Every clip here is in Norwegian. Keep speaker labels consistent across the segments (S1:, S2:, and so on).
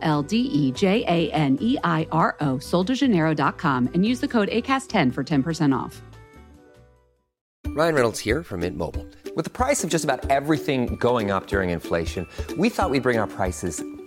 S1: L D E J A N E I R O, soldejaneiro.com, and use the code ACAST10 for 10% off.
S2: Ryan Reynolds here from Mint Mobile. With the price of just about everything going up during inflation, we thought we'd bring our prices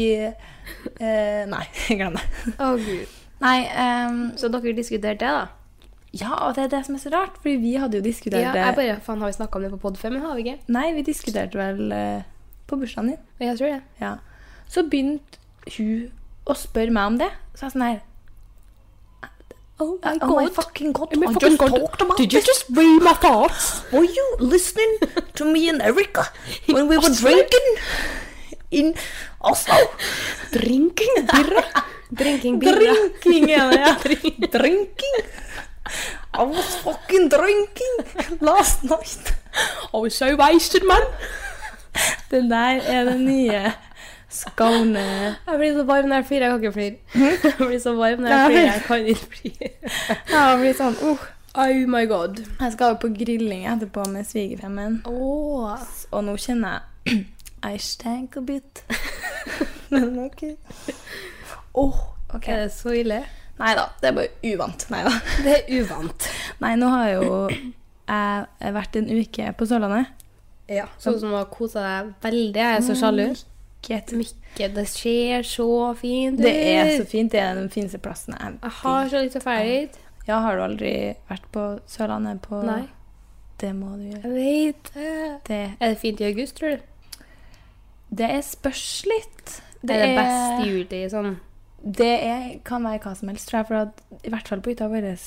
S3: eh, Nei, glem det.
S4: Å, Gud.
S3: Nei, ehm,
S4: Så dere diskuterte det, da?
S3: ja, og det er det som er så rart, fordi vi hadde jo diskutert
S4: Ja,
S3: det
S4: jeg bare, faen, Har vi snakka om det på pod før? Men har vi ikke?
S3: Nei, vi diskuterte vel eh, på bursdagen din.
S4: Jeg tror det.
S3: Ja. Så begynte hun å spørre meg om det. Så jeg sånn her
S5: Oh my
S3: Oh my
S5: god.
S3: fucking god,
S5: my
S3: I
S5: fucking
S3: just
S5: God.
S3: talked about
S5: Did you
S3: this.
S5: just read my thoughts?
S3: Were you listening to me and Erica when we were drinking in Oslo?
S5: Drinking birra?
S4: Drinking birra.
S3: Drinking, er det ja. Drinking. I was fucking drinking last night.
S5: I was so wasted, man.
S3: Den der er den nye Skåne.
S4: Jeg blir så varm når jeg flirer. Jeg kan ikke flire. Jeg blir så varm når jeg flirer. Jeg kan ikke flire.
S3: Jeg blir sånn, uh,
S4: Oh my god.
S3: jeg skal jo på grilling etterpå med svigerfemmen.
S4: Åh.
S3: Og nå kjenner jeg I stank a bit. Men ok. Åh, ok.
S5: Eh.
S4: Er det så ille?
S3: Nei da, det er bare uvant. Nei da.
S4: Det er uvant.
S3: Nei, nå har jo jeg vært en uke på Sørlandet.
S4: Ja. Sånn som har kosa deg veldig. Jeg er så sjalu.
S3: Get-
S4: Mikke, det ser så fint ut.
S3: Det er så fint. Det er den fineste plassen jeg
S4: Jeg har så lyst til å feire hit.
S3: Ja, har du aldri vært på Sørlandet på
S4: Nei.
S3: Det må du gjøre.
S4: Jeg vet det.
S3: Det,
S4: Er det fint i august, tror du?
S3: det er spørs litt.
S4: Det er det best juli sånn.
S3: Det er, kan være hva som helst, tror jeg. For at, i hvert fall på hytta vår eh,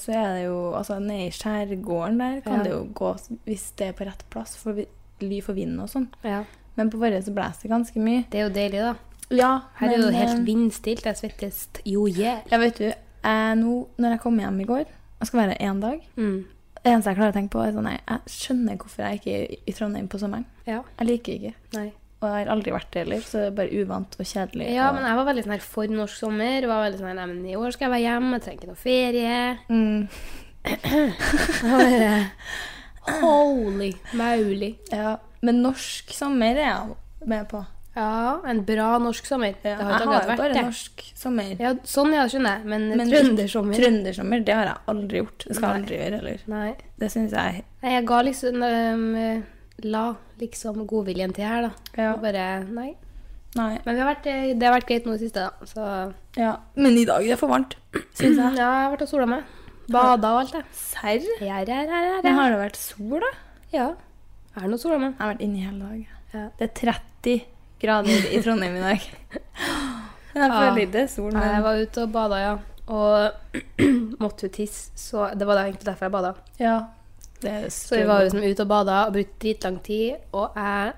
S3: så er det jo altså Nede i skjærgården der kan
S4: Ja.
S3: det jo gå hvis det er på rett plass, for vi- ly for vinden og sånn.
S4: Ja.
S3: Men på vår så blåser det ganske mye.
S4: Det er jo deilig, da.
S3: Ja,
S4: Her er det jo helt
S3: eh,
S4: vindstilt. Jeg svettes jo i hjel.
S3: Ja, vet du, jeg, nå, når jeg kom hjem i går Jeg skal være én dag.
S4: Mm.
S3: Det eneste jeg klarer å tenke på, er sånn nei, Jeg skjønner hvorfor jeg ikke er i- i Trondheim på sommeren.
S4: Ja.
S3: Jeg liker ikke.
S4: Nei.
S3: Og jeg har aldri vært det heller, så det er bare uvant og kjedelig.
S4: Ja,
S3: og...
S4: men jeg var veldig sånn her for norsk sommer. Var veldig sånn her, nei, men I år skal jeg være hjemme, jeg trenger ikke noe ferie.
S3: mm,
S4: Jeg var bare, Holy moly.
S3: ja. men norsk sommer er jeg med på.
S4: Ja, en bra norsk sommer.
S3: Ja,
S4: det har
S3: jeg
S4: ikke
S3: har
S4: akkurat
S3: jo
S4: vært
S3: bare
S4: det.
S3: norsk sommer.
S4: Ja, sånn, ja, skjønner jeg. Men,
S3: Men
S4: trøndersommer
S3: Trøndersommer, det har jeg aldri gjort. Det skal jeg
S4: Nei.
S3: aldri gjøre heller.
S4: Nei.
S3: Det syns jeg
S4: Nei, jeg ga liksom øhm, La liksom godviljen til her, da.
S3: Ja.
S4: Og bare Nei.
S3: Nei.
S4: Men vi har vært, eh, det har vært greit nå i det siste, da. Så
S3: Ja. Men i dag det er for varmt, syns
S4: ja,
S3: jeg.
S4: jeg har vært og sola meg. Bada og alt, det.
S3: Serr?
S4: Jeg er her, her, her,
S3: Men
S4: her.
S3: har det vært sol, da?
S4: Ja. Jeg har nå sola meg.
S3: Jeg har vært inne i hele dag.
S4: Ja.
S3: Det er 30 grader i Trondheim i dag. Men jeg føler ikke det er sol.
S4: Ah. Nei, Jeg
S3: Men...
S4: var ute og bada, ja. Og måtte jo tisse, så det var da egentlig derfor jeg bada.
S3: Ja. Det er
S4: Så vi var jo liksom ute og bada og brukte dritlang tid, og jeg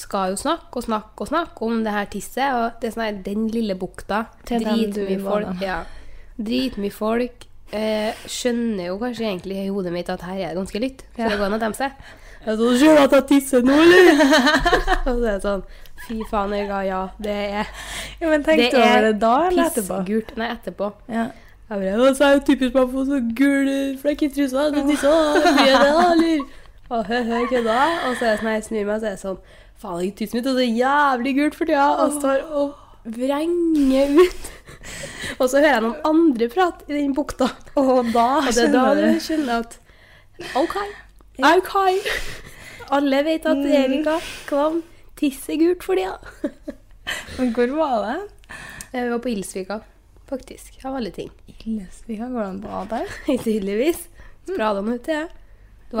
S4: skal jo snakke og snakke og snakke om det her tisset, og det er sånn her, den lille bukta,
S3: Til dem du
S4: dritmye
S3: vil bade
S4: folk,
S3: med.
S4: ja, dritmye folk, eh, skjønner jo kanskje egentlig i hodet mitt at her er det ganske lytt, så det går an å demme seg. Jeg sånn, skjønner du at jeg tisser nå, eller? og så er det sånn, fy faen, jeg ga ja, det er,
S3: ja, Men tenkte du over det da eller etterpå?
S4: pissgult, nei, etterpå.
S3: Ja.
S4: Jeg bare, «Å, så er jo typisk meg å få så gul flekk i trusa. sånn Du tissa, blir det da, eller? Og hø, hø, kødda. Og så er jeg sånn, jeg snur meg, så er jeg sånn Faen, jeg tissen min er så jævlig gult for tida. Og står og vrenger ut. Og så hører jeg noen andre prate i den bukta.
S3: Og da
S4: Og det er da
S3: skjønner
S4: du
S3: du.
S4: skjønner at OK. OK. Alle vet at Erika Kvam tisser gult for tida.
S3: Men hvor var det?
S4: Vi var på Ilsvika, faktisk. Av alle ting.
S3: Illesvika, går det an å bade der?
S4: Tydeligvis. Sprada den ut, Mm.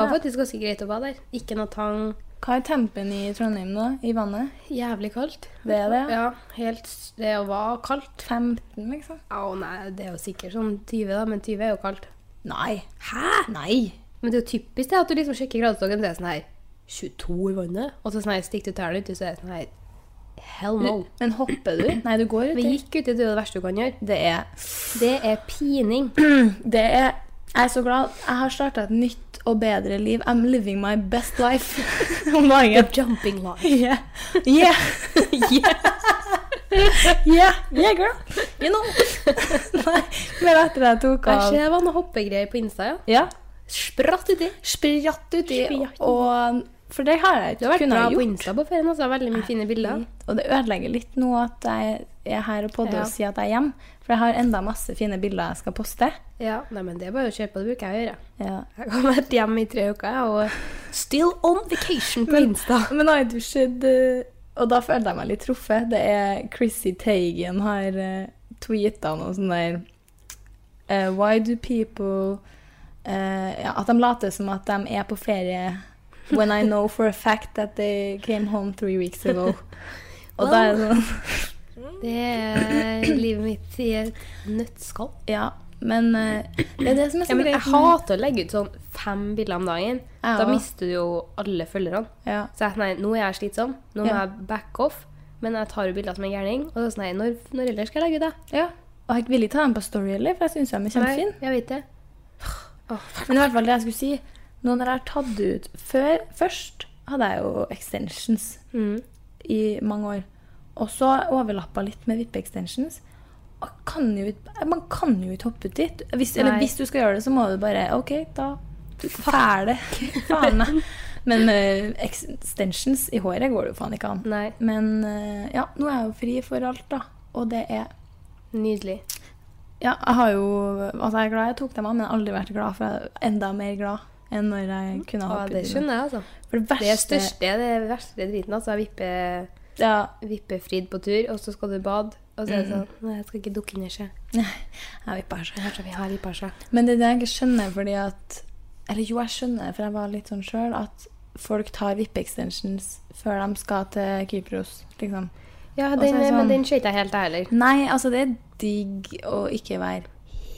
S4: ja. Det var faktisk ganske greit å bade der. Ikke noe tang.
S3: Hva er tempen i Trondheim da? I vannet?
S4: Jævlig kaldt.
S3: Det er det, ja.
S4: Ja, helt s- Det var kaldt.
S3: 15, liksom?
S4: Å nei, det er jo sikkert sånn 20, da, men 20 er jo kaldt.
S3: Nei. Hæ? Nei.
S4: Men det er jo typisk det at du liksom sjekker gradestokken, så er det sånn her 22 i vannet, og så sånn her stikker du tærne uti, så er det sånn her Hell no.
S3: Men hopper du? Nei, du går
S4: Vi
S3: uti.
S4: gikk uti, det er jo det verste du kan gjøre. Det er, det er pining.
S3: Det er Jeg er så glad. Jeg har starta et nytt og bedre liv. I'm living my best life om dagen.
S4: Jumping line.
S3: Yeah. Yeah. yeah. yeah. Yeah, girl. You know. Nei, mer etter jeg tok
S4: Jeg
S3: av.
S4: ser det var noe hoppegreier på Insta, ja.
S3: Ja.
S4: Spratt uti.
S3: Spratt uti.
S4: Spratt.
S3: Og For det har jeg
S4: Du har vært
S3: ikke kunnet
S4: bra
S3: ha
S4: på
S3: gjort.
S4: Insta på ferien. Altså. Veldig mye fine bilder.
S3: Og det ødelegger litt nå at jeg er her og podder
S4: Ja.
S3: og sier at jeg er hjemme. For jeg har enda masse fine bilder jeg skal poste.
S4: Ja, nei, men Det er bare å kjøre på. Det bruker jeg å gjøre.
S3: Ja.
S4: Jeg har vært hjemme i tre uker jeg, og still on vacation på Insta.
S3: Men har du sett eh, Og da følte jeg meg litt truffet. Det er Chrissy Teigen har uh, tweeta noe sånn der eh, Why do people eh, ja, At de later som at de er på ferie when I know for a fact that they came home three weeks ago. Og da er det sånn
S4: Det er livet mitt i et nøttskall.
S3: Ja, men eh, det er det som
S4: Ja,
S3: er så
S4: men jeg
S3: greit. med-
S4: hater å legge ut sånn fem bilder om dagen.
S3: Jeg
S4: Da
S3: også.
S4: mister du jo alle følgerne.
S3: Ja.
S4: Så jeg, nei, nå er jeg slitsom, nå må
S3: Ja.
S4: jeg back off. Men jeg tar jo bilder som en gærning. Og så er det sånn, nei, når, når ellers skal jeg legge ut, da?
S3: ja. Og jeg vil ikke ta dem på Story heller, for jeg syns de er
S4: Nei,
S3: kjempefine.
S4: Jeg vet det.
S3: Men i hvert fall det jeg skulle si Nå når jeg har tatt det ut før, Først hadde jeg jo extensions
S4: Mm.
S3: I mange år Og så overlappet litt med vippe-extensions Og kan jo, ikke- Man kan jo ikke hoppe ut dit hvis, Eller
S4: Nei.
S3: hvis du skal gjøre det så må du bare Ok, da fær det Faen meg Men eh, extensions i håret går det jo faen ikke an
S4: Nei.
S3: Men eh, ja, nå er jeg jo fri for alt da Og det er
S4: Nydelig.
S3: ja, jeg har jo Altså, jeg er glad jeg tok dem av, men jeg har aldri vært glad, for jeg er enda mer glad enn når jeg kunne
S4: Mm.
S3: ha
S4: Ja,
S3: hoppet
S4: det
S3: i
S4: skjønner jeg, altså.
S3: For det
S4: Det er
S3: verste
S4: største, det er det verste driten. altså. Jeg vipper,
S3: ja,
S4: vipper Frid på tur, og så skal du bade. Og så er det sånn Nei, jeg skal ikke dukke under seg.
S3: Jeg vet bare ikke.
S4: Kanskje sånn vi har vippa seg.
S3: Men det er det jeg ikke skjønner, fordi at Eller jo, jeg skjønner, for jeg var litt sånn sjøl, at folk tar vippe-extensions før de skal til Kypros, liksom.
S4: Ja,
S3: Og så er
S4: den,
S3: det sånn-
S4: men den skjøt jeg helt, jeg heller.
S3: Nei, altså, det er digg å ikke være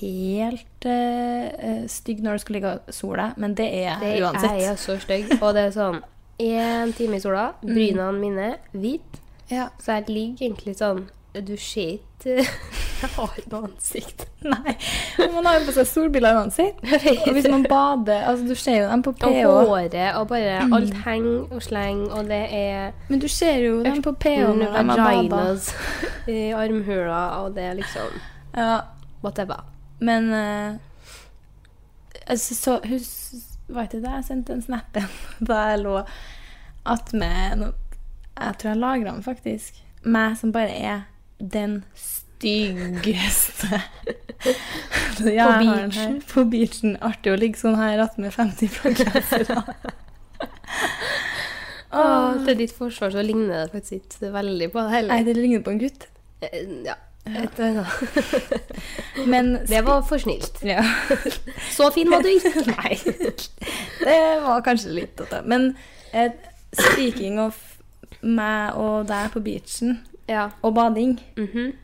S3: helt eh, eh, stygg når du skal ligge og sole, men det er
S4: Det
S3: jeg uansett.
S4: er jeg så stygg. Og det er sånn én time i sola, brynene mine hvite,
S3: Ja.
S4: så jeg ligger egentlig sånn Du ser ikke Jeg har ikke noe ansikt.
S3: Nei. men Man har jo på seg solbriller uansett. Og hvis man bader altså Du ser jo dem på
S4: Og
S3: PH.
S4: håret og bare Alt henger og slenger, og det er
S3: Men du ser jo dem på PH
S4: ørten,
S3: når de har badet.
S4: vaginas i armhula, og det er liksom
S3: Ja,
S4: Whatever.
S3: men eh, altså, så, hus, Var ikke det jeg sendte en snap igjen da jeg lå attmed no- Jeg tror jeg lagra den faktisk. Meg som bare er den styggeste Ja, jeg har den her.
S4: beachen.
S3: På beachen. Artig å ligge sånn her attmed 50 flaggsensere. Ah.
S4: Og til Ah, ditt forsvar så ligner det faktisk ikke veldig på det
S3: Nei,
S4: heller.
S3: det ligner på en gutt.
S4: Eh, Ja. Et eller annet.
S3: Men
S4: Det var for snilt.
S3: Ja.
S4: Så fin var du ikke. Nei.
S3: Det var kanskje litt å ta. Men eh, speaking of meg og deg på beachen
S4: Ja.
S3: og bading,
S4: Mhm.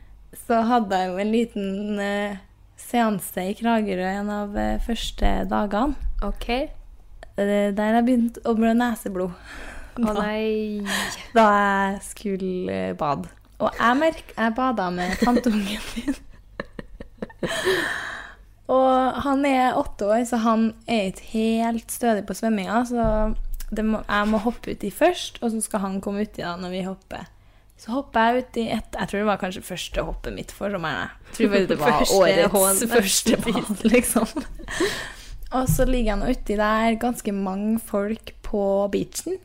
S3: så hadde jeg jo en liten eh, seanse i Kragerø en av eh, første dagene.
S4: OK.
S3: Eh, der jeg begynte å blø neseblod
S4: Å nei.
S3: da jeg skulle eh, bade. Og jeg merk, jeg bada med tanteungen min. Og han er åtte år, så han er ikke helt stødig på svømminga. Så det må, jeg må hoppe uti først, og så skal han komme uti da når vi hopper. Så hopper jeg uti et Jeg tror det var kanskje første hoppet mitt for sommeren. Jeg tror bare det var
S4: Første
S3: årets
S4: hån.
S3: første bad, liksom. Og så ligger jeg nå uti der, ganske mange folk på beachen.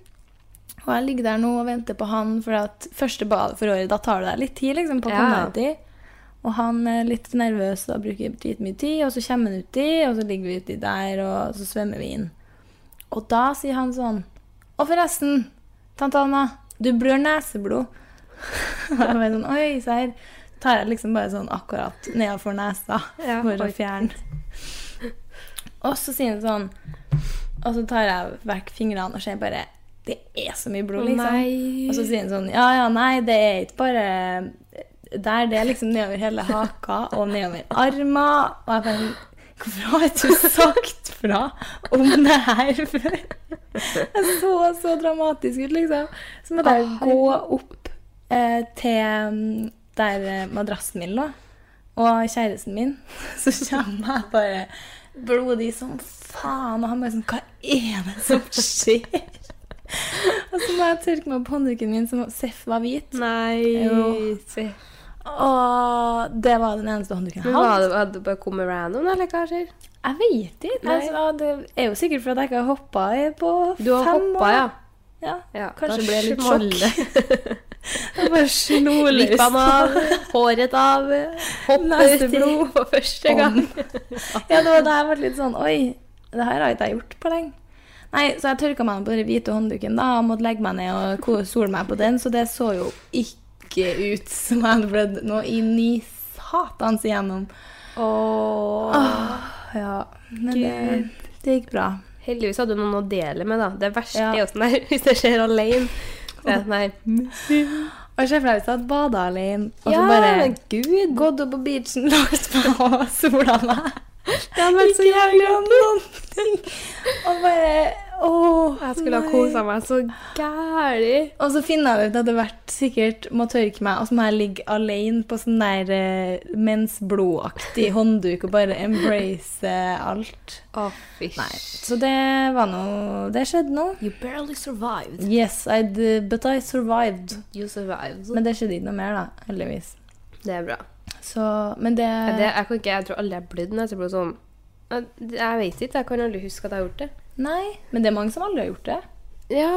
S3: Og jeg ligger der nå og venter på han, for at første bad for året, da tar det deg litt tid liksom, på å komme
S4: Ja.
S3: uti. Og han er litt nervøs og bruker dritmye tid, og så kommer han uti, og så ligger vi uti der, og så svømmer vi inn. Og da sier han sånn Og forresten, tante Anna, du blør neseblod. Og jeg bare sånn, Oi, serr. Så tar jeg liksom bare sånn akkurat nedafor nesa
S4: Ja,
S3: for å
S4: oi.
S3: fjerne. Og så sier han sånn Og så tar jeg vekk fingrene og ser bare Det er så mye blod, liksom. Og så sier han sånn Ja, ja, nei, det er ikke bare der. Det er liksom nedover hele haka og nedover armen. Og jeg bare Hvorfor har ikke du sagt fra om det her før? Jeg så så dramatisk ut, liksom. Så måtte jeg gå opp eh, til mm, der eh, madrassen min lå, og kjæresten min, så kommer jeg bare blodig som faen, og han bare sånn Hva er det som skjer? og så må jeg tørke meg på håndduken min, som Seff var hvit.
S4: Nei
S3: Jo.
S4: se.
S3: Og det var den eneste håndduken jeg
S4: Men
S3: hadde.
S4: var det, hadde det bare kommet random, eller hva skjer?
S3: Jeg vet ikke.
S4: Nei.
S3: Altså, det er jo sikkert fordi jeg ikke har hoppa på
S4: Du har
S3: fem
S4: hoppa, ja.
S3: Ja.
S4: ja.
S3: Kanskje
S4: da
S3: ble jeg litt
S4: smalt
S3: Jeg bare slo løs.
S4: Lippene av, håret av, hoppet
S3: Neste
S4: uti
S3: blod.
S4: for første gang.
S3: Ja, det var da jeg ble litt sånn Oi, det her har ikke jeg gjort på lenge. Nei, Så jeg tørka meg på den hvite håndduken da, og måtte legge meg ned og ko- sole meg på den, så det så jo ikke ut som jeg hadde blødd noe inn i satans igjennom. Åh, ja. Men det, det gikk bra.
S4: Heldigvis hadde du noen å dele med, da. Det verste
S3: Ja.
S4: er jo sånn der, hvis det skjer alene. Så jeg er sånn her,
S3: Og se for deg hvis jeg hadde bada alene, og
S4: Ja,
S3: så bare
S4: men gud!
S3: gått opp på beachen, lagt meg og sola meg.
S4: Det hadde vært så jævlig
S3: artig! Og bare Åh,
S4: Jeg skulle ha
S3: nei.
S4: kosa meg så gæli.
S3: Og så finner jeg ut at det hadde vært sikkert må tørke meg, og så må jeg ligge alene på sånn der eh, mensblodaktig håndduk og bare embrace eh, alt.
S4: Å, fysj.
S3: Nei, så det var noe Det skjedde nå.
S4: You barely survived.
S3: Yes, I d but I survived.
S4: You survived.
S3: Men det skjedde ikke noe mer, da, heldigvis.
S4: det er bra.
S3: Så, men det,
S4: Ja, det, jeg, kan ikke, jeg tror aldri jeg har blødd når jeg ser på sånn. Jeg, jeg vet ikke, jeg kan aldri huske at jeg har gjort det.
S3: Nei, men det er mange som aldri har gjort det.
S4: Ja,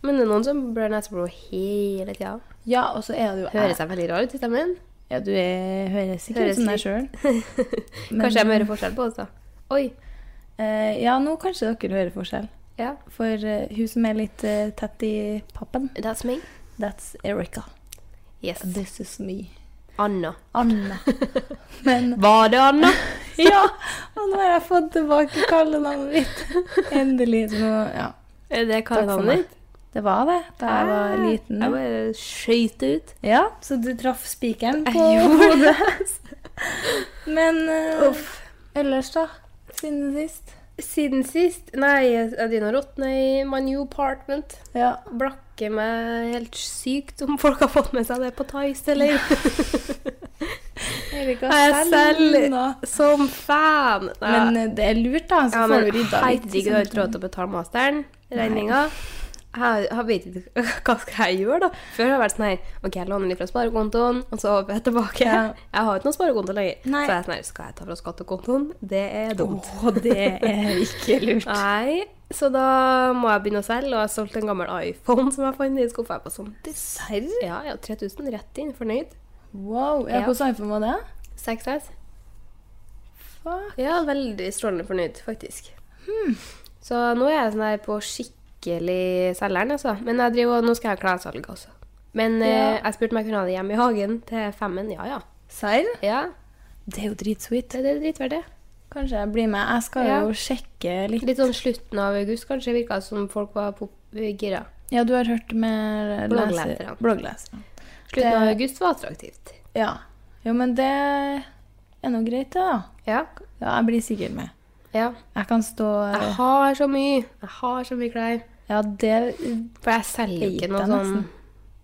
S4: men det er noen som blør neseblod hele tida.
S3: Ja, og så er det jo
S4: Hører seg veldig rar ut i stemmen.
S3: Ja, du er, høres sikkert
S4: Høres
S3: ut som deg
S4: litt-
S3: sjøl. Men-
S4: Kanskje jeg må høre forskjell på oss, da. Oi.
S3: Eh, ja, nå kanskje dere hører forskjell.
S4: Ja,
S3: For eh, hun som er litt eh, tett i pappen,
S4: that's me.
S3: that's Erica.
S4: Yes.
S3: This is me.
S4: Anna.
S3: Anne. Men
S4: Var det Anna?
S3: ja! Og nå har jeg fått tilbake kallenavnet mitt. Endelig. Så nå, ja.
S4: Er det
S3: meg.
S4: kallenavnet ditt?
S3: Det var det da Ah, jeg var liten.
S4: Jeg bare skøyt det ut.
S3: Ja, så du traff spikeren på
S4: gjorde
S3: hodet. Men eh, ellers, da? Siden sist?
S4: Siden sist Nei, Adina råtner i my new apartment.
S3: Ja.
S4: Blakker meg helt sykt om folk har fått med seg det på Tice, eller?
S3: Erika
S4: Jeg er selv
S3: nå.
S4: Som fan! Nei.
S3: Men eh, det er lurt, da. Så
S4: ja,
S3: får
S4: men
S3: du rydda litt. liksom.
S4: herregud, jeg har ikke råd til å betale masteren. Regninga. Jeg, jeg vet ikke hva skal jeg gjøre, da. Før har jeg vært sånn her OK, jeg låner litt fra sparekontoen, og så håper jeg tilbake.
S3: Ja.
S4: Jeg har ikke noen sparekonto lenger.
S3: Nei.
S4: Så jeg er sånn her Skal jeg ta fra skattekontoen? Det er dumt.
S3: Å, det er ikke lurt.
S4: Nei, så da må jeg begynne å selge, og jeg har solgt en gammel iPhone som jeg fant i skuffa. Jeg var sånn,
S3: Serr?
S4: ja, ja, 3000 rett inn, fornøyd.
S3: Wow. Ja,
S4: Ja.
S3: Hvordan iPhone var det?
S4: 6S.
S3: Fuck.
S4: Ja, veldig strålende fornøyd, faktisk. Hmm. Så nå er jeg sånn her på skikkelig selgeren, altså. Men jeg driver, og nå skal jeg ha klessalg også. Men eh, jeg spurte om jeg kunne ha det hjemme i hagen til femmen. Ja, ja.
S3: Serr?
S4: Ja,
S3: Det er jo dritsweet.
S4: det, det er dritverdt det.
S3: Kanskje jeg blir med. Jeg skal
S4: Ja.
S3: jo sjekke litt.
S4: Litt sånn slutten av august, kanskje, virka det som folk var på gira.
S3: Ja, du har hørt med
S4: Bloggleser,
S3: leser-
S4: ja.
S3: bloggleser.
S4: Slutten av
S3: Det-
S4: august var attraktivt.
S3: Ja. Jo, men det er nå greit, det, da.
S4: Ja.
S3: Ja, jeg blir sikkert med.
S4: ja.
S3: Jeg kan stå
S4: Jeg har så mye. Jeg har så mye klær.
S3: Ja, det
S4: For jeg selger jo
S3: Jeg
S4: ikke
S3: gikk
S4: noe
S3: da
S4: sånn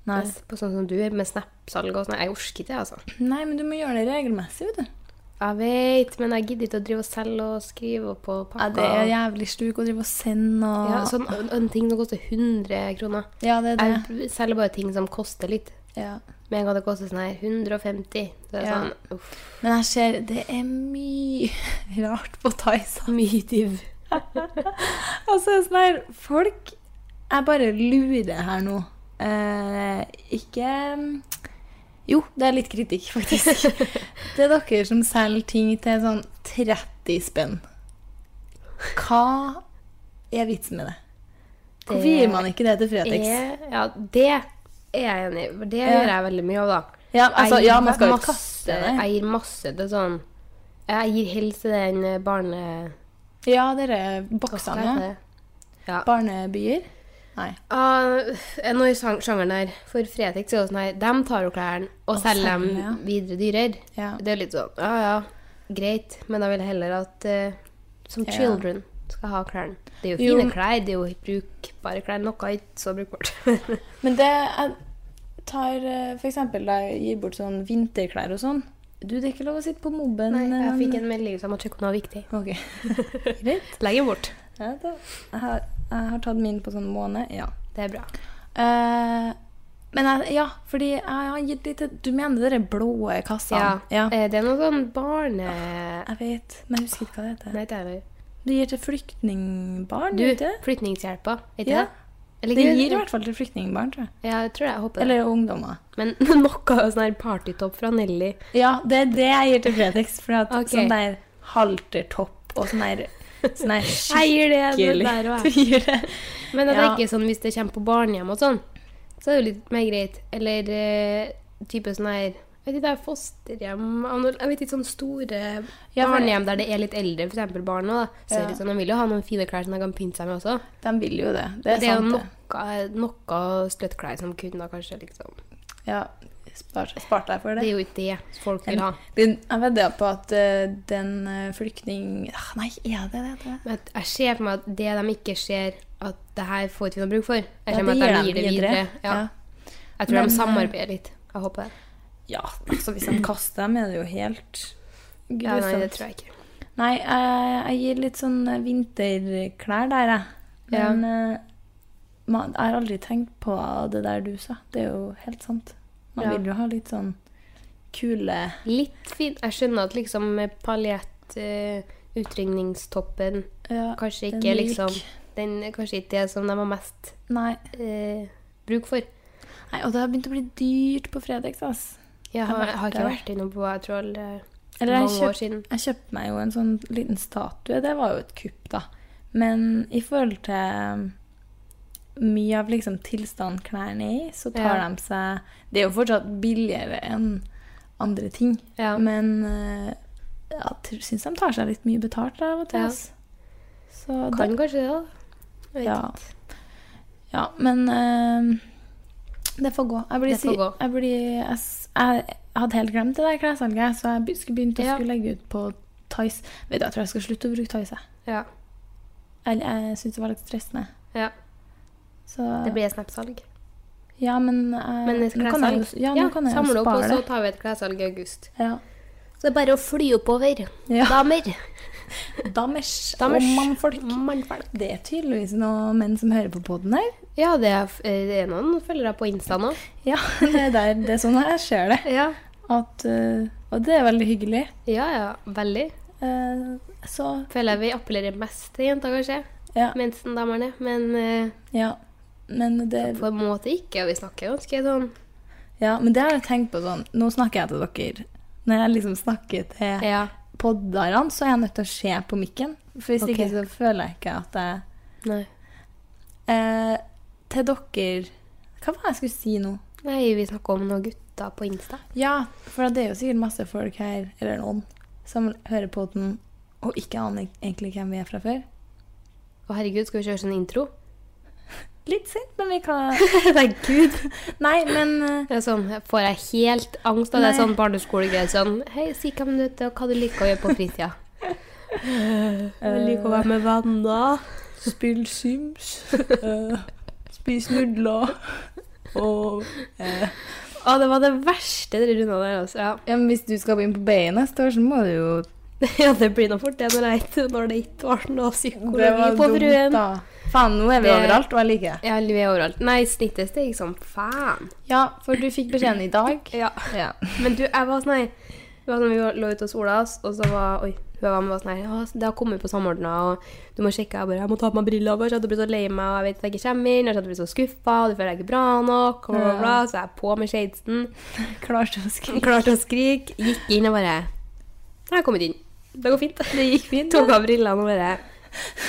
S3: Nei.
S4: på sånn som du er med Snap-salg og sånn. Jeg orker ikke det, altså.
S3: Nei, men du må gjøre det regelmessig, vet du.
S4: Jeg vet, men jeg gidder ikke å drive og selge og skrive og på
S3: Ja,
S4: pakker.
S3: det er jævlig stuk å drive og sende og
S4: Ja, sånn en, en ting som koster 100 kroner.
S3: Ja, det er det.
S4: Jeg selger bare ting som koster litt.
S3: Ja.
S4: Med en gang det koster sånn her 150, så er det
S3: Ja.
S4: sånn uff.
S3: Men jeg ser det er mye rart på Thaisa. Mye div. altså, sånn her, folk Jeg bare lurer her nå. Eh, ikke Jo, det er litt kritikk, faktisk. det er dere som selger ting til sånn 30 spenn. Hva er vitsen med det? Hvorfor gir man ikke det til Fretex?
S4: Er, ja, det er jeg enig i. for Det gjør jeg veldig mye av, da.
S3: Ja, altså,
S4: jeg
S3: ja,
S4: gir
S3: man skal jo ikke
S4: masse-
S3: kaste det.
S4: Jeg gir masse til sånn Jeg gir helst til den eh, barne...
S3: Ja, dere
S4: Hva heter
S3: boksene.
S4: det? Ja.
S3: Barnebyer. Nei.
S4: Uh, Noe i sjang- sjangeren der. For Fretex er jo sånn her De tar jo klærne og
S3: Og
S4: selger dem
S3: selger, ja.
S4: videre dyrere.
S3: Ja.
S4: Det er litt sånn Ja, ja, greit, men da vil jeg heller at eh, som
S3: Ja.
S4: children skal ha klærne. Det er jo
S3: Jo,
S4: fine
S3: men-
S4: klær, det er jo brukbare klær. Noe er ikke så brukbart.
S3: Men det er, tar eh, for eksempel da jeg gir bort sånn vinterklær og sånn Du, det er ikke lov å sitte på mobben.
S4: Nei, jeg
S3: eh,
S4: fikk en melding som at kjøkkenet var viktig.
S3: Ok. Greit.
S4: Legg den bort.
S3: Ja, da. Jeg, har, jeg har tatt min på sånn måned. Ja.
S4: Det er bra.
S3: Eh, men jeg, ja, fordi jeg har gitt litt Du mener dere blå kassene?
S4: Eh, Det er noe sånn barne...
S3: Jeg vet, men jeg husker ikke hva det heter.
S4: Nei, det er det.
S3: Du gir til flyktningbarn?
S4: Du,
S3: gjør det?
S4: flyktninghjelpa, er ikke
S3: Ja.
S4: det? Eller
S3: Det
S4: ikke-
S3: gir i hvert fall til flyktningbarn, tror jeg.
S4: Ja, jeg tror det. Jeg håper det.
S3: Eller ungdommer.
S4: Men noe sånn her partytopp fra Nelly.
S3: Ja, det er det jeg gir til Fretex. For at
S4: Ok.
S3: sånn der haltertopp og sånn der, sånn der
S4: Jeg gir det, det
S3: skikkelig
S4: der også,
S3: Du gir det.
S4: Men jeg
S3: Ja.
S4: tenker sånn, hvis det kommer på barnehjem og sånn, så er det jo litt mer greit. Eller eh, type sånn her jeg vet ikke, det er fosterhjem anor- Jeg vet ikke, sånne store
S3: Ja, for-
S4: barnehjem der det er litt eldre, f.eks. barn nå, da. Så er det
S3: Ja.
S4: litt sånn, De vil jo ha noen fine klær som de kan pynte seg med også.
S3: De vil jo det.
S4: Det
S3: Det er,
S4: er, det er jo
S3: sant, det.
S4: noe, noe støttklær som kunne da kanskje liksom
S3: Ja, spart, spart deg for
S4: Det
S3: det.
S4: er jo ikke det folk vil ha.
S3: Den, jeg vedder på at eh, den eh, flyktning... Ah, Nei, er det det? det? er?
S4: Men at jeg ser for meg at det de ikke ser at det her får ikke vi noe bruk for, jeg
S3: Ja,
S4: ser for meg at
S3: gir
S4: de gir det videre. Ja.
S3: Ja.
S4: Jeg tror de
S3: Men, eh,
S4: samarbeider litt. Jeg håper det.
S3: Ja, altså hvis de kaster dem, er det jo helt grusomt.
S4: Ja, nei, det tror jeg ikke.
S3: Nei, jeg, jeg gir litt sånn eh, vinterklær der, jeg.
S4: Ja.
S3: Men eh, man, jeg har aldri tenkt på det der du sa. Det er jo helt sant. Man
S4: Ja.
S3: vil jo ha litt sånn kule
S4: Litt fint. Jeg skjønner at liksom med paljett, eh, utringningstoppen
S3: ja,
S4: Kanskje
S3: den
S4: ikke
S3: eh, myk.
S4: liksom den, er Kanskje ikke det som de har mest
S3: Nei.
S4: eh, bruk for.
S3: Nei, og det har begynt å bli dyrt på Fredex, ass.
S4: Jeg har,
S3: vært
S4: har ikke
S3: der.
S4: vært innom på jeg tror aldri
S3: Eller jeg
S4: mange år
S3: kjøpte
S4: siden.
S3: Jeg kjøpte meg jo en sånn liten statue. Det var jo et kupp, da. Men i forhold til mye av liksom tilstanden klærne er i, så tar
S4: Ja.
S3: de seg Det er jo fortsatt billigere enn andre ting,
S4: Ja.
S3: men eh, jeg syns de tar seg litt mye betalt av og til.
S4: Ja.
S3: ass. Så da,
S4: Kan kanskje det, da. Jeg vet
S3: ja.
S4: ikke.
S3: ja, men eh, det får gå. Jeg, blir,
S4: Det får
S3: si-
S4: gå.
S3: jeg, blir, jeg, s- jeg, jeg hadde helt glemt det der klessalget, så jeg be- skulle begynt å
S4: Ja.
S3: skulle legge ut på Tice. Vet du, Jeg tror jeg skal slutte å bruke Tice. jeg.
S4: Ja.
S3: Jeg, jeg syns det var litt stressende.
S4: Ja.
S3: Så,
S4: Det blir snapsalg.
S3: ja, men, eh,
S4: Men et
S3: nå kan jeg, jo-
S4: klessalg
S3: ja, nå kan jeg jo
S4: samle opp, og
S3: spare
S4: så
S3: det.
S4: tar vi et klessalg i august.
S3: Ja.
S4: Så det er bare å fly oppover.
S3: Ja.
S4: Damer. Damers.
S3: Damers, og mannfolk.
S4: Mannfolk.
S3: Det er tydeligvis noen menn som hører på poden her.
S4: Ja, det er, eh, det er noen følgere på Insta nå.
S3: Ja, det er, der, det er sånn jeg ser det.
S4: Ja.
S3: At, eh, og det er veldig hyggelig.
S4: Ja, ja. Veldig.
S3: Eh, så
S4: Føler jeg vi appellerer mest til jenter, kanskje.
S3: Ja.
S4: Mens den damerne. Men eh,
S3: ja. Men det,
S4: på en måte ikke. og Vi snakker ganske sånn.
S3: ja, men det har jeg tenkt på sånn Nå snakker jeg til dere. Når jeg liksom snakker til
S4: Ja.
S3: podderne, så er jeg nødt til å se på mikken. For hvis
S4: Ok.
S3: ikke så føler jeg ikke at jeg
S4: Nei.
S3: Eh, til dere Hva var det jeg skulle si nå?
S4: Nei, vi snakker om noen gutter på Insta.
S3: Ja, for det er jo sikkert masse folk her, eller noen, som hører på den og ikke aner egentlig hvem vi er fra før.
S4: Å, herregud, skal vi kjøre sånn intro?
S3: Litt sint, men vi kan
S4: Herregud.
S3: Nei, men eh,
S4: Det er sånn, får jeg helt angst av det
S3: Nei.
S4: sånn barneskolegreier. Sånn Hei, si hvem du er, og hva du liker å gjøre på fritida. jeg liker å være med venner.
S3: Spill Sims. eh, spis nudler. Og
S4: Å, det var det verste dere runda der, altså. Ja.
S3: Ja, men hvis du skal begynne på BI neste år, så må du jo
S4: ja, det blir nå fort det når jeg ikke når det ikke var noe psykologi
S3: var
S4: på
S3: dumt,
S4: fruen.
S3: da. Faen, nå er vi
S4: Det-
S3: overalt, og jeg liker det.
S4: Ja, vi er overalt. Nei, snittet steg som faen.
S3: Ja, for du fikk beskjeden i dag.
S4: Ja.
S3: Ja.
S4: Men du, jeg var sånn her Det var når vi var- lå ute hos Ola, og så var Oi, hun var med var sånn her «Å, Det har kommet på samordna, og du må sjekke. Jeg bare Jeg må ta på meg brillene, for jeg hadde blitt så lei meg, og jeg vet at jeg ikke kommer inn, og jeg hadde blitt så skuffa, og du føler deg ikke bra nok, og bla, bla, bla. Så jeg er på med shadesen.
S3: Klar til å skrive.
S4: Klarte å skrike. Gikk inn og bare Jeg har kommet inn. Det går fint. Det gikk fint. Tok av brillene og bare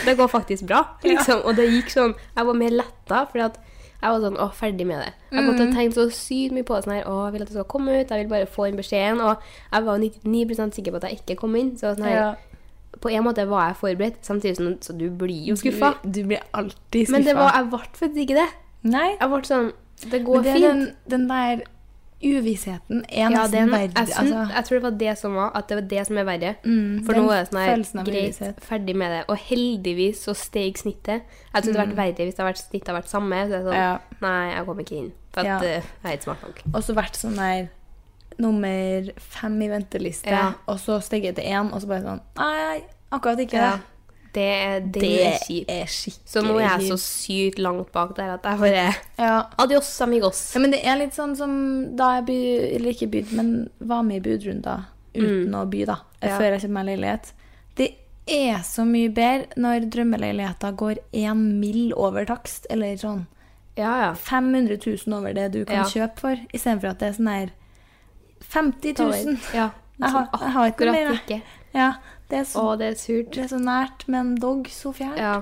S4: Det går faktisk bra, liksom. Og det gikk sånn Jeg var mer letta, fordi at jeg var sånn Å, ferdig med det. Jeg måtte ha tenkt så sykt mye på det. Sånn her, å, jeg vil at det skal komme ut. Jeg vil bare få inn beskjeden. Og jeg var jo 99 sikker på at jeg ikke kom inn. Så sånn her,
S3: Ja.
S4: på en måte var jeg forberedt, samtidig som Så du blir jo skuffa.
S3: Du, du blir alltid skuffa.
S4: Men det var, jeg ble faktisk ikke det.
S3: Nei,
S4: Jeg ble sånn Det
S3: men
S4: går
S3: det er
S4: fint.
S3: den, den der uvissheten er
S4: Ja,
S3: nesten
S4: den, jeg,
S3: verdt altså,
S4: syns- jeg tror det var det som var, at det var det som er verre. For
S3: Mm, den
S4: nå er det sånn
S3: følelsen
S4: her,
S3: av
S4: greit,
S3: uvisshet.
S4: ferdig med det. Og heldigvis så steg snittet. Jeg trodde det hadde vært verre hvis det hadde vært, snittet hadde vært samme. Så jeg sånn,
S3: Mm. Ja.
S4: Nei, jeg kommer ikke inn. For
S3: Ja.
S4: at, eh, jeg er ikke smart nok.
S3: Og så vært sånn der nummer fem i venteliste,
S4: Ja.
S3: og så steget til én, og så bare sånn Nei, akkurat ikke
S4: Ja.
S3: det.
S4: Det, er- det,
S3: Det
S4: er kjipt.
S3: er skikkelig
S4: Så nå er jeg så
S3: kjipt.
S4: sykt langt bak der at jeg bare
S3: ja.
S4: Adios, amigos.
S3: ja, men det er litt sånn som da jeg by, eller ikke byd, men var med i budrunder uten å by, da.
S4: Mm. Ja.
S3: Før jeg kjøpte meg leilighet. Det er så mye bedre når drømmeleiligheter går én mill. over takst, eller sånn.
S4: Ja, ja.
S3: 500 000 over det du kan
S4: Ja.
S3: kjøpe for, istedenfor at det er sånn her 50 000.
S4: Ja. sånn
S3: Jeg har, jeg har ikke noe
S4: Akkurat
S3: mer. jeg.
S4: ikke.
S3: Ja, det, er
S4: Å,
S3: så,
S4: det er surt.
S3: det er så nært, men dog så fjernt.
S4: Ja.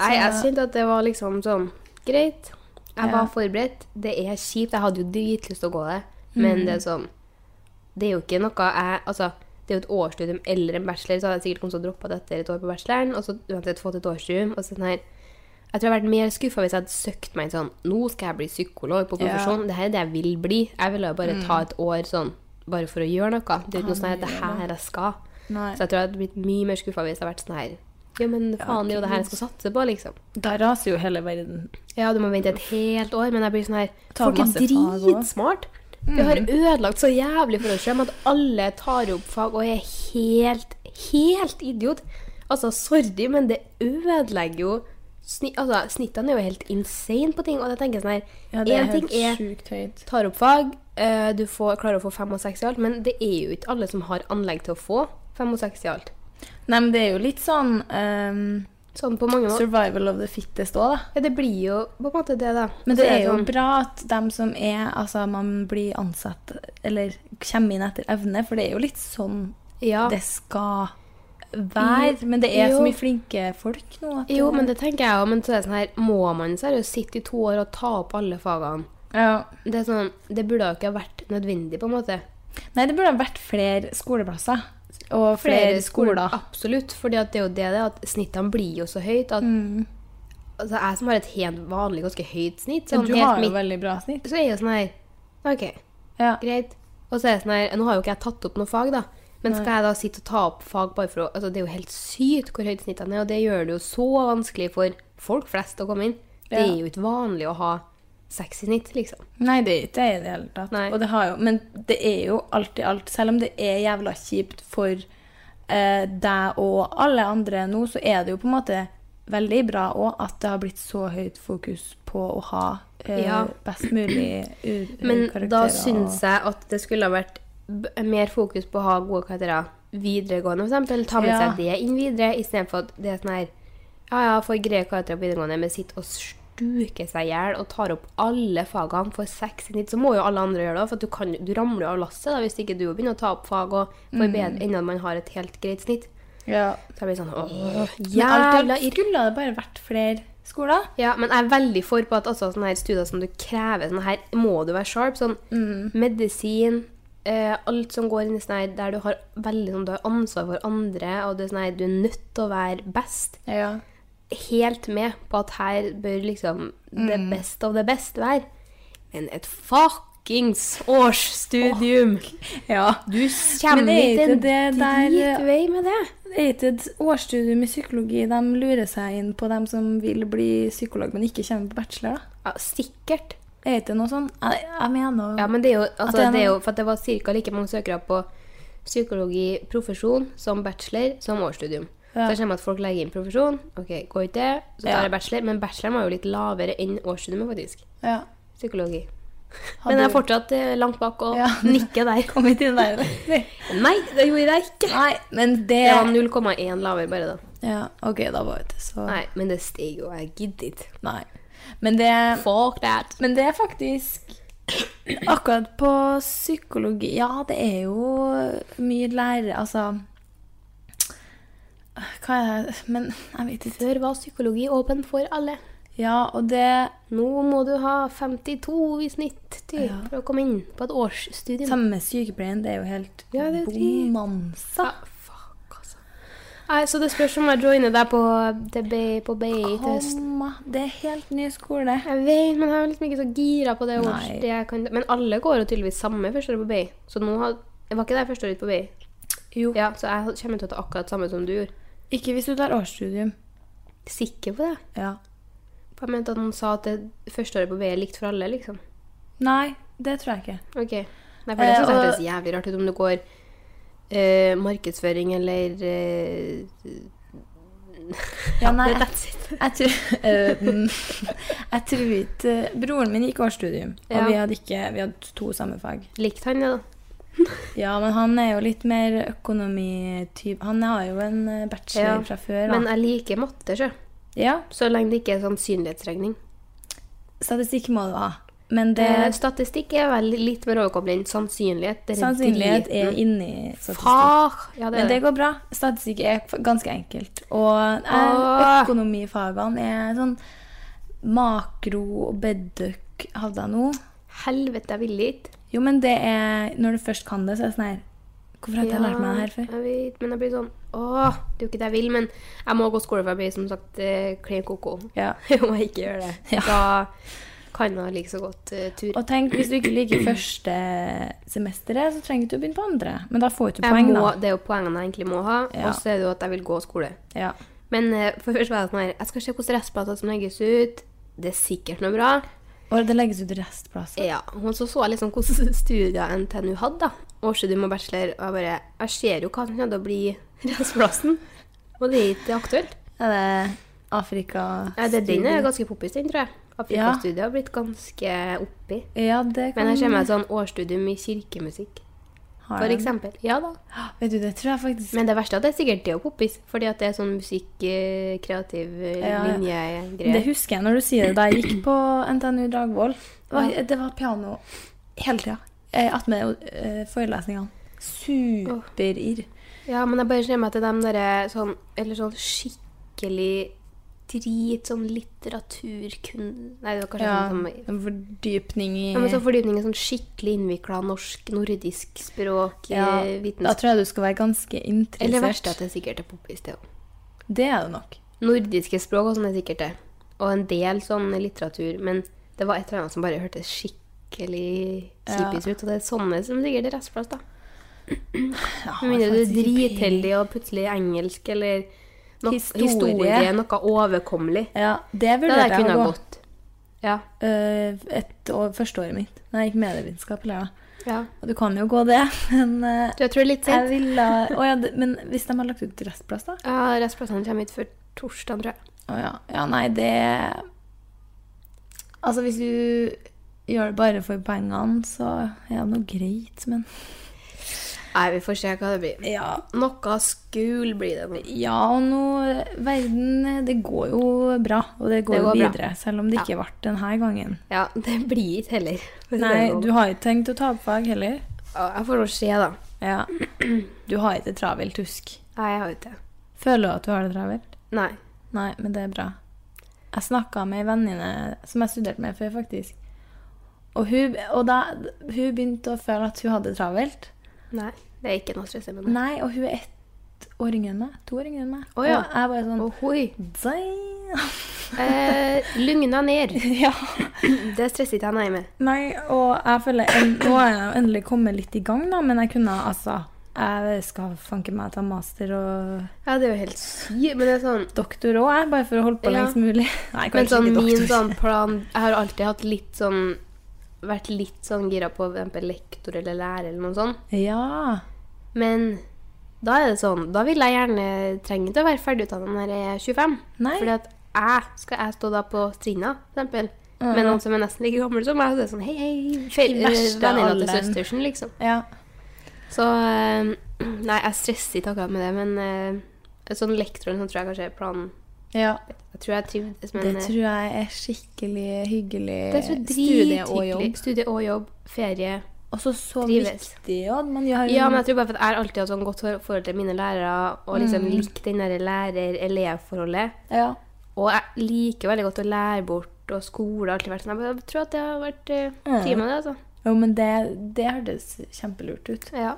S4: Nei, jeg
S3: Så-
S4: kjente at det var liksom sånn Greit, jeg
S3: Ja.
S4: var forberedt. Det er kjipt. Jeg hadde jo dritlyst til å gå det, men
S3: Mhm.
S4: det er sånn Det er jo ikke noe jeg Altså, det er jo et årsstudium eller en bachelor, så hadde jeg sikkert kommet til å droppe det etter et år på bacheloren, og så uansett fått et årsstudium, og så sånn her jeg tror jeg hadde vært mer skuffa hvis jeg hadde søkt meg inn sånn Nå skal jeg bli psykolog på profesjon. Det her er det jeg vil bli. Jeg ville jo bare
S3: Mm.
S4: ta et år sånn bare for å gjøre noe. Det er jo ikke noe sånn her det her jeg skal.
S3: Nei.
S4: Så jeg tror jeg hadde blitt mye mer skuffa hvis jeg hadde vært sånn her Ja, men faen, det er jo det her jeg skal satse på, liksom.
S3: Da raser jo hele verden.
S4: Ja, du må vente et helt år, men jeg blir sånn her
S3: Ta
S4: Folk er
S3: masse fag også. Mm.
S4: dritsmart. Vi har ødelagt så jævlig for oss selv med at alle tar opp fag og er helt, helt idiot. Altså, sorry, men det ødelegger jo sni altså, Snittene er jo helt insane på ting, og jeg tenker sånn her
S3: Ja, det er
S4: en ting
S3: helt
S4: er
S3: sjukt høyt.
S4: tar opp fag, eh, du får, klarer å få fem og seks i alt, men det er jo ikke alle som har anlegg til å få fem og seks i alt.
S3: Nei, men det er jo litt sånn ehm,
S4: Sånn på mange måter.
S3: survival of the fittest òg, da.
S4: Ja, det blir jo på en måte det, da.
S3: Men det
S4: Så
S3: er jo
S4: sånn-
S3: bra at dem som er Altså, man blir ansatt eller kommer inn etter evne, for det er jo litt sånn
S4: ja.
S3: det skal være. Men det er
S4: Jo.
S3: så mye flinke folk nå at
S4: Jo, men det tenker jeg òg. Men så er det sånn her, må man seriøst sitte i to år og ta opp alle fagene?
S3: ja.
S4: Det, er sånn, det burde jo ikke ha vært nødvendig, på en måte.
S3: Nei, det burde ha vært flere skoleplasser. Og flere, skoler.
S4: Absolutt. For det er jo det, det er at snittene blir jo så høyt at
S3: Mm.
S4: altså, Jeg som har et helt vanlig, ganske høyt snitt, sånn,
S3: du
S4: helt
S3: har jo
S4: midt,
S3: veldig bra snitt.
S4: så er jo sånn her OK,
S3: Ja.
S4: greit. Og så er det sånn her Nå har jo ikke jeg tatt opp noe fag, da. Men skal jeg da sitte og ta opp fag bare for å altså, Det er jo helt sykt hvor høyt snittene er, og det gjør det jo så vanskelig for folk flest å komme inn. Det
S3: Ja.
S4: er jo ikke vanlig å ha seks i snitt, liksom.
S3: Nei, det er ikke det i det hele tatt.
S4: Nei.
S3: Og det har jo, men det er jo alltid alt. Selv om det er jævla kjipt for eh, deg og alle andre nå, så er det jo på en måte veldig bra òg at det har blitt så høyt fokus på å ha eh,
S4: Ja.
S3: best mulig u-
S4: Men
S3: eh, karakterer.
S4: da syns jeg at det skulle ha vært b- mer fokus på å ha gode karakterer videregående, f.eks. Ta med
S3: Ja.
S4: seg det inn videre, istedenfor at det er sånn her Ja, ja, får greie karakterer på videregående, men sitter og stuker seg i hjel og tar opp alle fagene for seks i snitt, så må jo alle andre gjøre det. For at du, kan, du ramler jo av lasset da, hvis ikke du begynner å ta opp fag og
S3: Mm.
S4: forbedre innen man har et helt greit snitt.
S3: og, ja.
S4: Så jeg blir sånn åh,
S3: Men alt i
S4: jævla
S3: alt skulle det bare vært flere skoler.
S4: ja, men jeg er veldig for på at altså, sånne her studier som du krever sånn her, må du være sharp. Sånn
S3: Mm.
S4: medisin, eh, alt som går inn i sånn her der du har veldig sånn, du har ansvar for andre, og det er sånn her, du er nødt til å være best.
S3: Ja.
S4: Helt med på at her bør liksom det
S3: Mm.
S4: best av det best være. Men et fuckings årsstudium!
S3: ja.
S4: Du kommer
S3: Men
S4: ikke
S3: er
S4: en
S3: ikke det der- eh,
S4: dritvei med det.
S3: Er ikke et årsstudium i psykologi de lurer seg inn på dem som vil bli psykolog, men ikke kommer på bachelor? da?
S4: Ja, sikkert.
S3: Er ikke det noe sånn? Jeg, jeg mener
S4: Ja, men det er jo,
S3: At
S4: altså,
S3: det er
S4: det er
S3: noe-
S4: jo for at det var ca. like mange søkere på psykologi profesjon som bachelor som årsstudium.
S3: Ja.
S4: Så jeg kommer at folk legger inn profesjon, ok, går ikke det, så tar
S3: Ja.
S4: jeg bachelor. Men bacheloren var jo litt lavere enn årsstudiumet, faktisk.
S3: ja.
S4: Psykologi.
S3: Har
S4: men jeg er
S3: du-
S4: fortsatt eh, langt bak og
S3: Ja.
S4: nikker der.
S3: Kom hit inn der.
S4: Nei, det gjorde jeg ikke.
S3: Nei, men det
S4: Det var 0,1 lavere bare da.
S3: Ja, OK, da var det så
S4: Nei, men det steg jo, jeg gidder ikke.
S3: Nei. Men det
S4: Fuck that.
S3: Men det er faktisk Akkurat på psykologi Ja, det er jo mye lærere Altså Hva er det Men jeg vet ikke.
S4: Før var psykologi åpen for alle.
S3: Ja, og det
S4: Nå må du ha 52 i snitt til for å komme inn på et årsstudium.
S3: Samme med sykepleien, det er jo helt
S4: Ja, det er jo drit.
S3: bonanza.
S4: Fuck, altså. Nei, så det spørs om jeg joiner deg på The Bay på Bay til høsten.
S3: Komma. Det er helt ny skole.
S4: Jeg vet, men jeg er liksom ikke så gira på det
S3: Nei.
S4: årstid jeg kan Men alle går jo tydeligvis samme førsteåret på Bay, så nå har jeg var ikke der førsteåret på Bay.
S3: Jo.
S4: Ja, så jeg kommer til å ta akkurat samme som du gjorde.
S3: Ikke hvis du tar årsstudium.
S4: Sikker på det?
S3: Ja.
S4: For Jeg mente at han sa at det førsteåret på Bay er likt for alle, liksom.
S3: Nei, det tror jeg ikke.
S4: Ok. Nei, for det synes
S3: Eh,
S4: jeg
S3: og-
S4: høres jævlig rart ut om det går eh, markedsføring eller eh,
S3: Ja, nei, jeg,
S4: That's it.
S3: jeg, tror, eh, jeg tror ikke eh, Broren min gikk årsstudium, og
S4: Ja.
S3: vi, hadde ikke, vi hadde to samme fag.
S4: Likte han det, da?
S3: Ja, men han er jo litt mer økonomitype. Han har jo en eh, bachelor
S4: Ja,
S3: fra før.
S4: Men
S3: han.
S4: jeg liker matte, sjø.
S3: ja,
S4: Så lenge det ikke er sannsynlighetsregning.
S3: statistikk må du ha. Men det,
S4: Eh, statistikk er vel litt mer overkommelig enn sannsynlighet. Det er
S3: sannsynlighet er
S4: driten.
S3: inni statistikk.
S4: Far! Ja, det
S3: Men
S4: er
S3: det
S4: det.
S3: går bra. Statistikk er f- ganske enkelt. Og eh,
S4: Åh.
S3: økonomifagene er sånn makro og bedøk hadde jeg nå.
S4: Helvete, jeg vil ikke.
S3: Jo, men det er Når du først kan det, så er det sånn her Hvorfor har ikke jeg lært meg det her før?
S4: Jeg vet, men jeg blir sånn Åh, det er jo ikke det jeg vil, men jeg må gå skole for jeg blir som sagt eh, klin koko.
S3: Ja.
S4: Jeg må ikke gjøre det.
S3: Ja.
S4: Da kan jeg like så godt eh, tur.
S3: Og tenk, hvis du ikke liker første semesteret, så trenger du ikke å begynne på andre. Men da får du ikke
S4: Jeg
S3: poeng,
S4: må,
S3: da.
S4: det er jo poengene jeg egentlig må ha,
S3: Ja.
S4: og så er det jo at jeg vil gå skole.
S3: Ja.
S4: Men eh, for først var jeg sånn her Jeg skal se hvordan restplasser som legges ut. Det er sikkert noe bra.
S3: Og det legges ut restplasser.
S4: Ja, og så så jeg liksom hvordan studier NTNU hadde, da. Årsstudium og bachelor. Og jeg bare Jeg ser jo hva som kommer til å bli restplassen. Og det er ikke aktuelt.
S3: Er det Afrika
S4: Ja, det, den er ganske poppis, den, tror jeg.
S3: Ja.
S4: Afrikastudiet har blitt ganske oppi.
S3: Ja, det kan
S4: Men jeg ser meg et sånn årsstudium i kirkemusikk,
S3: Har
S4: for
S3: den.
S4: eksempel. Ja da.
S3: Vet du, det tror jeg faktisk
S4: Men det verste er at det er sikkert det å poppis, fordi at det er sånn musikk, eh, kreativ eh,
S3: Ja, ja.
S4: linje-greier.
S3: Det husker jeg når du sier det. Da jeg gikk på NTNU Dragvoll, var- det var piano hele tida. Attmed eh, forelesningene. Superirr.
S4: Ja, men jeg bare ser meg til dem derre sånn Eller sånn skikkelig drit, sånn litteraturkun... Nei, det var kanskje
S3: Ja,
S4: sånn som
S3: en fordypning i
S4: ja, men så fordypning i sånn skikkelig innvikla norsk, nordisk språk,
S3: Ja,
S4: eh,
S3: Da
S4: vitenskap
S3: tror jeg du skal være ganske
S4: Eller det verste er
S3: interessert.
S4: at det sikkert er poppis, det òg.
S3: Det er det nok.
S4: Nordiske språk og sånn er sikkert det. Og en del sånn litteratur. Men det var et eller annet som bare hørtes skikkelig
S3: Ja.
S4: kjipis ut. Og det er sånne som sikkert er restplass, da.
S3: Ja,
S4: Med mindre du er
S3: faktisk ikke peiling.
S4: dritheldig og plutselig engelsk eller no
S3: Historie.
S4: historie. noe overkommelig.
S3: Ja, det
S4: Det hadde jeg
S3: vurderte jeg
S4: kunnet
S3: å
S4: ha
S3: gå.
S4: gått. Ja.
S3: Eh, et år, første året mitt. Når jeg gikk medievitenskap. eller ja.
S4: ja.
S3: Og du kan jo gå det, men eh,
S4: Så jeg tror det er litt
S3: jeg
S4: sent.
S3: ville Å ja, det- men hvis de har lagt ut restplass, da?
S4: Ja, Restplassene kommer hit før torsdag, tror jeg.
S3: Å ja. Ja, nei, det Altså, hvis du gjør det bare for pengene, så er det noe greit, men
S4: Nei, vi får se hva det blir.
S3: Ja.
S4: Noe school blir det nå.
S3: Ja, og nå eh, Verden, det går jo bra. Og det går,
S4: Det går
S3: jo
S4: bra.
S3: videre. Selv om det ikke ble denne gangen.
S4: Ja, det blir ikke heller. for å si det
S3: Nei,
S4: sånn.
S3: du har ikke tenkt å ta opp fag heller.
S4: Ja, Jeg får nå se, da.
S3: Ja. Du har ikke travelt, husk.
S4: Nei, jeg har jo ikke det.
S3: Føler du at du har det travelt?
S4: Nei.
S3: Nei, men det er bra. Jeg snakka med ei venninne som jeg studerte med før, faktisk. Og, hun, og da, hun begynte å føle at hun hadde det travelt.
S4: Nei. Det er ikke noe stress med det.
S3: Nei, og hun er ett år yngre enn meg. To år yngre enn meg.
S4: Mm. Å ja.
S3: Og jeg bare sånn
S4: Ohoi.
S3: «Damn!»
S4: Eh, lugna ned.
S3: Ja.
S4: Det stresser ikke jeg nei med.
S3: Nei, og jeg føler en, Nå er jeg jo endelig kommet litt i gang, da, men jeg kunne altså Jeg skal fanke meg ta master og
S4: Ja, det er jo helt sykt, men det er sånn
S3: doktor òg, jeg, bare for å holde på
S4: Ja.
S3: lengst mulig. Nei,
S4: Men
S3: kanskje
S4: sånn
S3: ikke
S4: min
S3: doktor.
S4: sånn plan Jeg har alltid hatt litt sånn Vært litt sånn gira på for eksempel lektor eller lærer eller noe sånt.
S3: Ja.
S4: Men da er det sånn Da vil jeg gjerne trenge til å være ferdigutdannet når jeg er 25.
S3: Nei.
S4: Fordi at jeg skal jeg stå da på trinna, for eksempel. Med noen som er nesten like gammel som meg. Så det er sånn hei, hei, fe-
S3: I verste
S4: venninna til
S3: alderen.
S4: søstersen, liksom.
S3: ja.
S4: Så eh, Nei, jeg stresser ikke akkurat med det, men eh, sånn lektor eller noe sånt tror jeg kanskje er planen.
S3: Ja.
S4: Jeg tror jeg trivdes, men
S3: Det
S4: eh,
S3: tror jeg er skikkelig hyggelig
S4: Det er så
S3: studie og
S4: drithyggelig.
S3: jobb.
S4: Studie og jobb, ferie.
S3: Og så så
S4: Trives.
S3: viktig jo, at man gjør
S4: Ja, men jeg tror bare for at jeg har alltid hatt sånn godt for- forhold til mine lærere, og
S3: Mm.
S4: liksom likt den der lærer-elev-forholdet.
S3: ja.
S4: Og jeg liker veldig godt å lære bort, og skole har alltid vært sånn. Jeg bare tror at det har vært eh,
S3: Ja.
S4: trivet med det, altså.
S3: Jo, men det, det hørtes kjempelurt ut.
S4: Ja.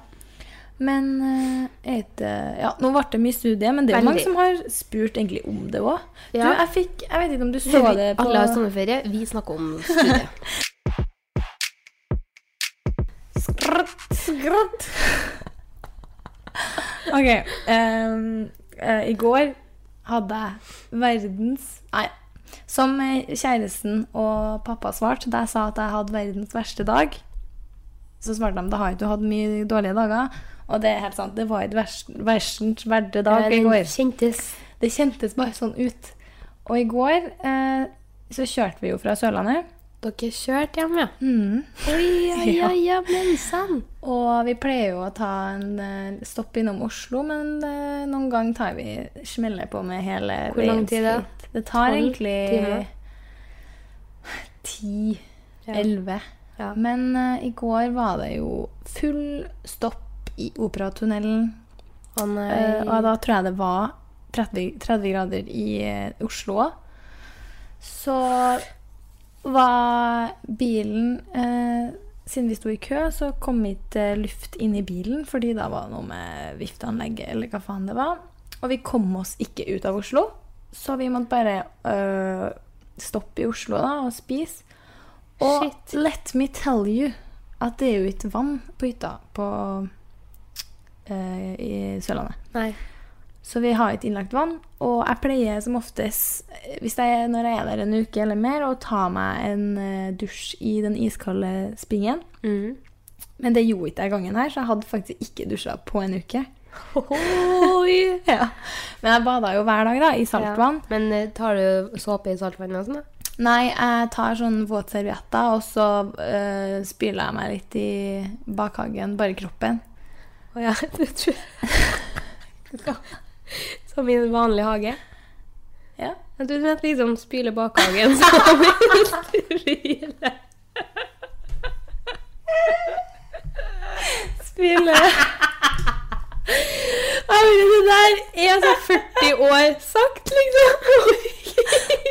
S3: Men eh, jeg vet, eh, ja, Nå ble det mye studie, men det er jo mange
S6: Veldig.
S3: som har spurt egentlig om det òg.
S6: Ja.
S3: Jeg fikk, jeg vet ikke om du så
S6: Hører
S3: det
S6: vi
S3: på
S6: alle har sånn sommerferie, vi snakker om studiet.
S3: Skratt. OK. ehm, eh, I går hadde jeg verdens Nei. Som eh, kjæresten og pappa svarte da jeg sa at jeg hadde verdens verste dag, så svarte de da har ikke du hatt mye dårlige dager. Og det er helt sant. Det var ikke verst- verstens verste
S4: Eh,
S3: dag i
S6: Den
S3: går.
S6: kjentes
S3: Det kjentes bare sånn ut. Og i går eh, så kjørte vi jo fra Sørlandet.
S6: Dere kjørte hjem, ja? Oi, ja, Mm. ja, ja, men sann.
S3: Og vi pleier jo å ta en eh, stopp innom Oslo, men eh, noen ganger tar vi smeller på med hele
S6: Hvor lang
S3: veien
S6: tid da?
S3: dit. Det tar
S6: Tolv timer?
S3: egentlig ti, elleve.
S6: Ja.
S3: Men eh, i går var det jo full stopp i Operatunnelen.
S6: Å nei.
S3: Eh, og da tror jeg det var 30, 30 grader i eh, Oslo òg. Så var bilen eh, Siden vi sto i kø, så kom ikke eh, luft inn i bilen, fordi da var det noe med vifteanlegget eller hva faen det var. Og vi kom oss ikke ut av Oslo, så vi måtte bare eh, stoppe i Oslo da og spise. Og
S6: Shit.
S3: let me tell you at det er jo ikke vann på hytta på, eh, i Sørlandet.
S6: Nei.
S3: Så vi har ikke innlagt vann. Og jeg pleier som oftest, hvis jeg, når jeg er der en uke eller mer, å ta meg en eh, dusj i den iskalde springen.
S6: Mm.
S3: Men det gjorde ikke jeg gangen her, så jeg hadde faktisk ikke dusja på en uke.
S6: Oi.
S3: Ja. Men jeg bada jo hver dag da, i saltvann.
S6: Ja. Men eh, tar du såpe i saltvann og sånn, da?
S3: Nei, jeg tar sånn våtservietter, og så eh, spyler jeg meg litt i bakhagen, bare kroppen.
S6: Å ja, det tror jeg. Som i en vanlig hage?
S3: Ja.
S6: Jeg tror du mente liksom spyle bakhagen som en spyle.
S3: Spyle.
S6: Jeg mener, det der er så 40 år sagt, liksom.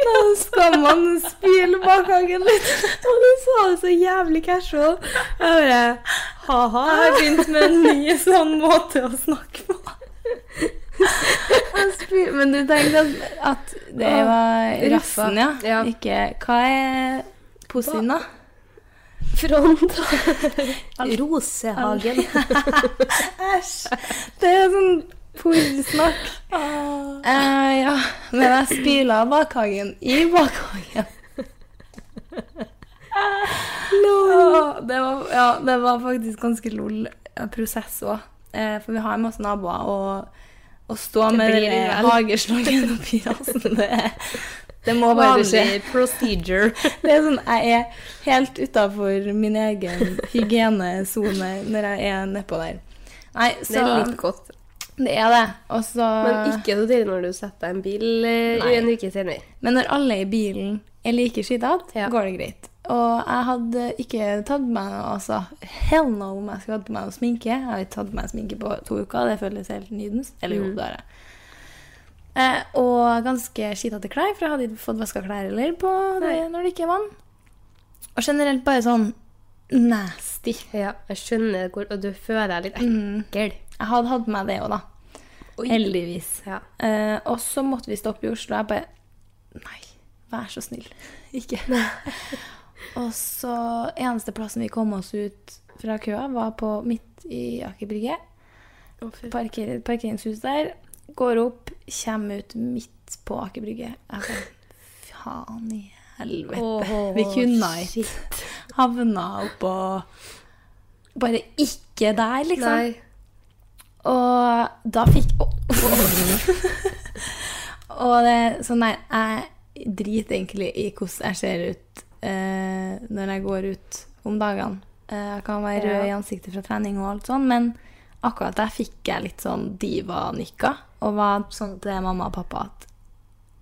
S3: Da skal man spyle bakhagen litt.
S6: Og du sa det så jævlig casual. Jeg bare Ha-ha. Jeg har begynt med en ny sånn måte å snakke på.
S3: Jeg spyr- Men du tenkte at, at det var
S6: Ruffa.
S3: rassen, ja.
S6: Ja.
S3: Ikke Hva er pussien, da?
S6: Front. Rosehagen.
S3: Æsj! Det er sånn porrsnakk.
S6: Ah.
S3: Eh, ja. Men jeg spyla bakhagen i bakhagen.
S6: Ah.
S3: Åh, Det, var, ja, det var faktisk ganske lol eh, prosess òg. Eh, for vi har masse naboer, og å stå
S6: Det
S3: med
S6: blir
S3: den
S6: vel.
S3: hageslangen oppi rassen, det, det må bare skje.
S6: Vanlig procedure.
S3: Det er sånn, Jeg er helt utafor min egen hygienesone når jeg er nedpå der. Nei, så
S6: Det er litt godt.
S3: Det er det. Og så
S6: Men ikke så tidlig når du setter deg en bil eh,
S3: Nei.
S6: en uke senere.
S3: Men når alle i bilen er like skitete,
S6: Ja.
S3: går det greit. Og jeg hadde ikke tatt på meg noe, altså. Hell no om jeg skulle hatt på meg noe sminke. Jeg har ikke tatt på meg sminke på to uker. Det føles helt nydens. Eller jo, det har jeg. Eh, og ganske skitete klær, for jeg hadde ikke fått vaska klær heller på det, når det ikke er vann. Og generelt bare sånn nasty.
S6: Ja, Mm. jeg skjønner hvor Og du føler deg litt ekkel.
S3: Jeg hadde hatt med meg det òg, da. Heldigvis.
S6: Ja.
S3: Eh, og så måtte vi stoppe i Oslo. Jeg bare Nei, vær så snill. Ikke. og så Eneste plassen vi kom oss ut fra køa, var på midt i Aker Brygge. Parker, parkeringshus der. Går opp, kommer ut midt på Aker Brygge. Jeg bare Faen i helvete. vi kunne ikke havna oppå Bare ikke der, liksom.
S6: Nei.
S3: Og da fikk Å, Og det, så nei, jeg driter egentlig i hvordan jeg ser ut eh, når jeg går ut om dagene. Eh, jeg kan være rød i ansiktet fra trening og alt sånn, men akkurat der fikk jeg litt sånn diva-nikka. Og var sånn til mamma og pappa at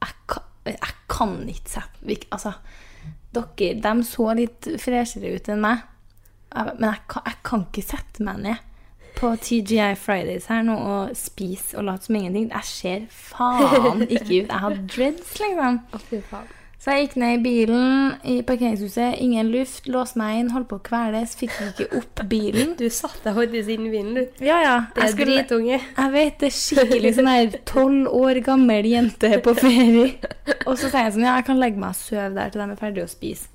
S3: jeg kan, jeg kan ikke sette vi- Altså, dere, de så litt freshere ut enn meg. Jeg- Men jeg kan, jeg kan ikke sette meg ned på TGI Fridays her nå og spise og late som ingenting. Jeg ser faen ikke ut. Jeg har dreads, liksom.
S6: Å, fy faen.
S3: Så jeg gikk ned i bilen i parkeringshuset. Ingen luft. Låste meg inn, holdt på å kveles. Fikk ikke opp bilen.
S4: Du satte deg faktisk inn i bilen, du.
S3: Ja, ja.
S4: Det
S3: Jeg,
S4: er
S3: skulle,
S4: dritunge.
S3: jeg vet det er skikkelig sånn her tolv år gammel jente på ferie. Og så sier jeg sånn Ja, jeg kan legge meg og sove der til de er ferdige å spise.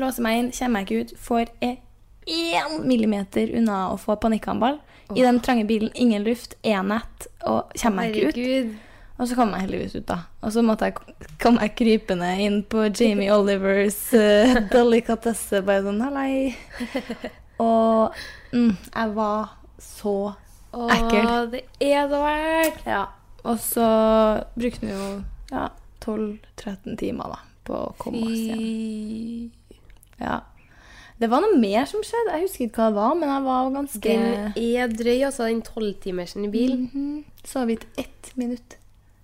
S3: Låser meg inn, kommer meg ikke ut. Får jeg én millimeter unna å få panikkanfall. I den trange bilen, ingen luft, én nett, og kommer meg ikke ut.
S4: Herregud.
S3: Og så kom jeg heldigvis ut, da. Og så måtte jeg, kom jeg krypende inn på Jamie Olivers uh, delikatesse. Bare sånn hallei. Og mm, jeg var så ekkel.
S4: Å, det er så ekkelt.
S3: Ja. Og så brukte vi jo ja, 12-13 timer da, på å komme oss hjem. Ja. Det var noe mer som skjedde. Jeg husker ikke hva det var, men jeg var ganske
S4: Den er drøy, altså, den tolvtimersen i
S3: Mm.
S4: bil.
S3: Mhm. Så vidt ett minutt.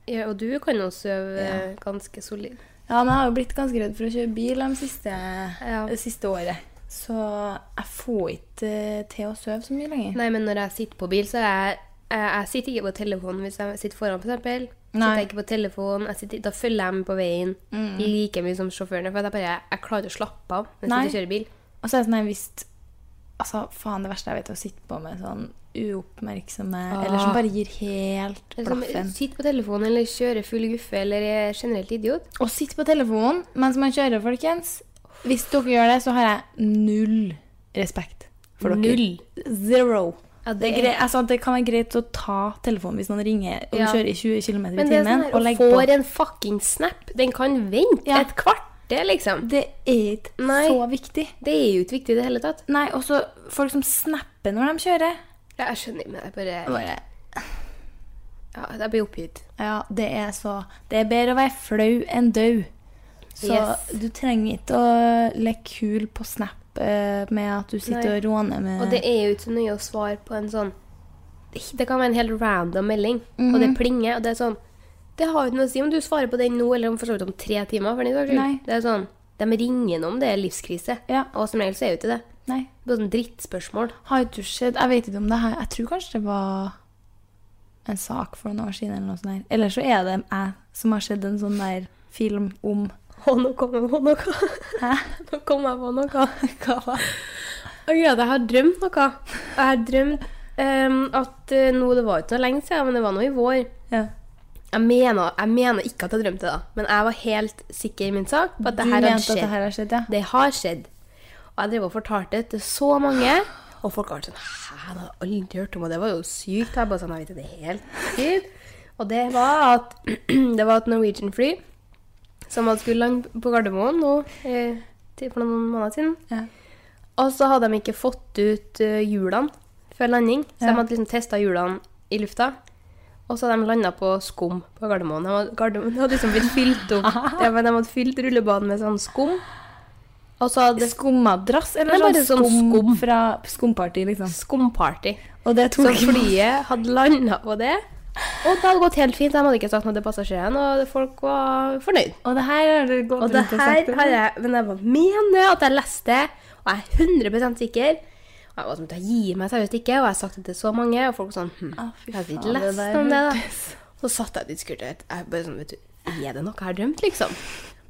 S4: Ja, og du kan jo sove eh, ganske solid.
S3: Ja, men jeg har jo blitt ganske redd for å kjøre bil de siste,
S4: Ja.
S3: det siste året. Så jeg får ikke eh, til å sove så mye lenger.
S4: Nei, men når jeg sitter på bil, så er jeg jeg, jeg sitter ikke på telefonen hvis jeg sitter foran, for eksempel.
S3: Nei. Mm.
S4: Sitter jeg ikke på telefonen, jeg sitter, da følger jeg med på veien like mye som sjåføren. For jeg, bare, jeg klarer ikke å slappe av når jeg
S3: Nei.
S4: sitter og kjører bil.
S3: Og så er det sånn jeg visst Altså, faen, det verste jeg vet er å sitte på med sånn uoppmerksomme Eller som bare gir helt
S4: Eller som,
S3: blaffen.
S4: sitter på telefonen eller kjører full guffe eller er generelt idiot.
S3: Å sitte på telefonen mens man kjører, folkens Hvis dere gjør det, så har jeg null respekt for dere. Zero.
S4: Ja, det
S3: Det, er greit, altså, det kan være greit å ta telefonen hvis noen ringer og
S4: Ja.
S3: kjører i 20 km i
S4: Men det er
S3: timen.
S4: sånn her,
S3: og
S4: å
S3: legger
S4: få
S3: på.
S4: en fucking snap, den kan vente
S3: Ja.
S4: et kvarter, liksom.
S3: Det er ikke
S4: Nei.
S3: så viktig.
S4: Det er jo ikke viktig i det hele tatt.
S3: Nei, også folk som snapper når de kjører.
S4: Ja, Jeg skjønner, men jeg bare, ja, jeg blir oppgitt.
S3: Ja, det er så Det er bedre å være flau enn død. Så
S4: Yes.
S3: du trenger ikke å leke kul på Snap eh, med at du sitter
S4: Nei.
S3: og råner med
S4: Og det er jo ikke så nøye å svare på en sånn Det kan være en helt random melding, og
S3: Mhm.
S4: det plinger, og det er sånn Det har jo ikke noe å si om du svarer på den nå eller om, for så vidt om tre timer. For den saks skyld.
S3: Nei.
S4: Det er sånn, De ringer nå om det er livskrise,
S3: Ja.
S4: og som regel så er jo ikke det.
S3: Nei.
S4: Det er bare sånn drittspørsmål.
S3: Har ikke du sett Jeg vet ikke om det her Jeg tror kanskje det var en sak for noen år siden eller noe sånt der. Eller så er det jeg som har sett en sånn der film om
S4: Å, nå kom jeg på noe. Hæ? Nå kom jeg på noe. Hva da? Å, ja, jeg har drømt noe. Jeg har drømt ehm, at eh, nå, Det var jo ikke noe lenge siden, men det var nå i vår.
S3: Ja.
S4: Jeg mener, jeg mener ikke at jeg drømte det, da. men jeg var helt sikker i min sak på at
S3: Du
S4: det her hadde
S3: mente at
S4: skjedd.
S3: det her har skjedd, ja.
S4: Det har skjedd. Og jeg drev og fortalte det til så mange, og folk var sånn Hæ, det har jeg aldri hørt om, og det var jo sykt. Og jeg bare sånn, jeg vet ikke, det er helt sikkert. Og det var at det var et Norwegian fly som hadde skulle lande på Gardermoen nå eh, til- for noen måneder siden.
S3: Ja.
S4: Og så hadde de ikke fått ut eh, hjulene før landing, så de hadde liksom testa hjulene i lufta. Og så hadde de landa på skum på Gardermoen. De hadde, Gardermoen hadde liksom blitt fylt opp. De, de hadde fylt rullebanen med sånn skum. Og så hadde
S3: Skummadrass, eller
S4: Nei,
S3: sånn
S4: bare
S3: skum,
S4: sånn
S3: skum fra skumparty, liksom.
S4: skumparty.
S3: Og det
S4: Så
S3: tok
S4: flyet hadde landa på det. Og det hadde gått helt fint. De hadde ikke sagt noe til passasjerene, og folk var fornøyd.
S3: Og det her har du gått
S4: Og det
S3: rundt og sagt
S4: her
S3: det.
S4: har jeg Men jeg bare mener at jeg leste det, og jeg er 100 sikker. Og jeg var sånn, jeg gir meg seriøst ikke, og jeg har sagt det til så mange, og folk var sånn hm,
S3: Å, fy
S4: Jeg har ikke
S3: faen, det
S4: lest
S3: der
S4: om det, da. Så satt jeg litt skurtet. Jeg bare sånn, vet du, er det noe jeg har drømt, liksom?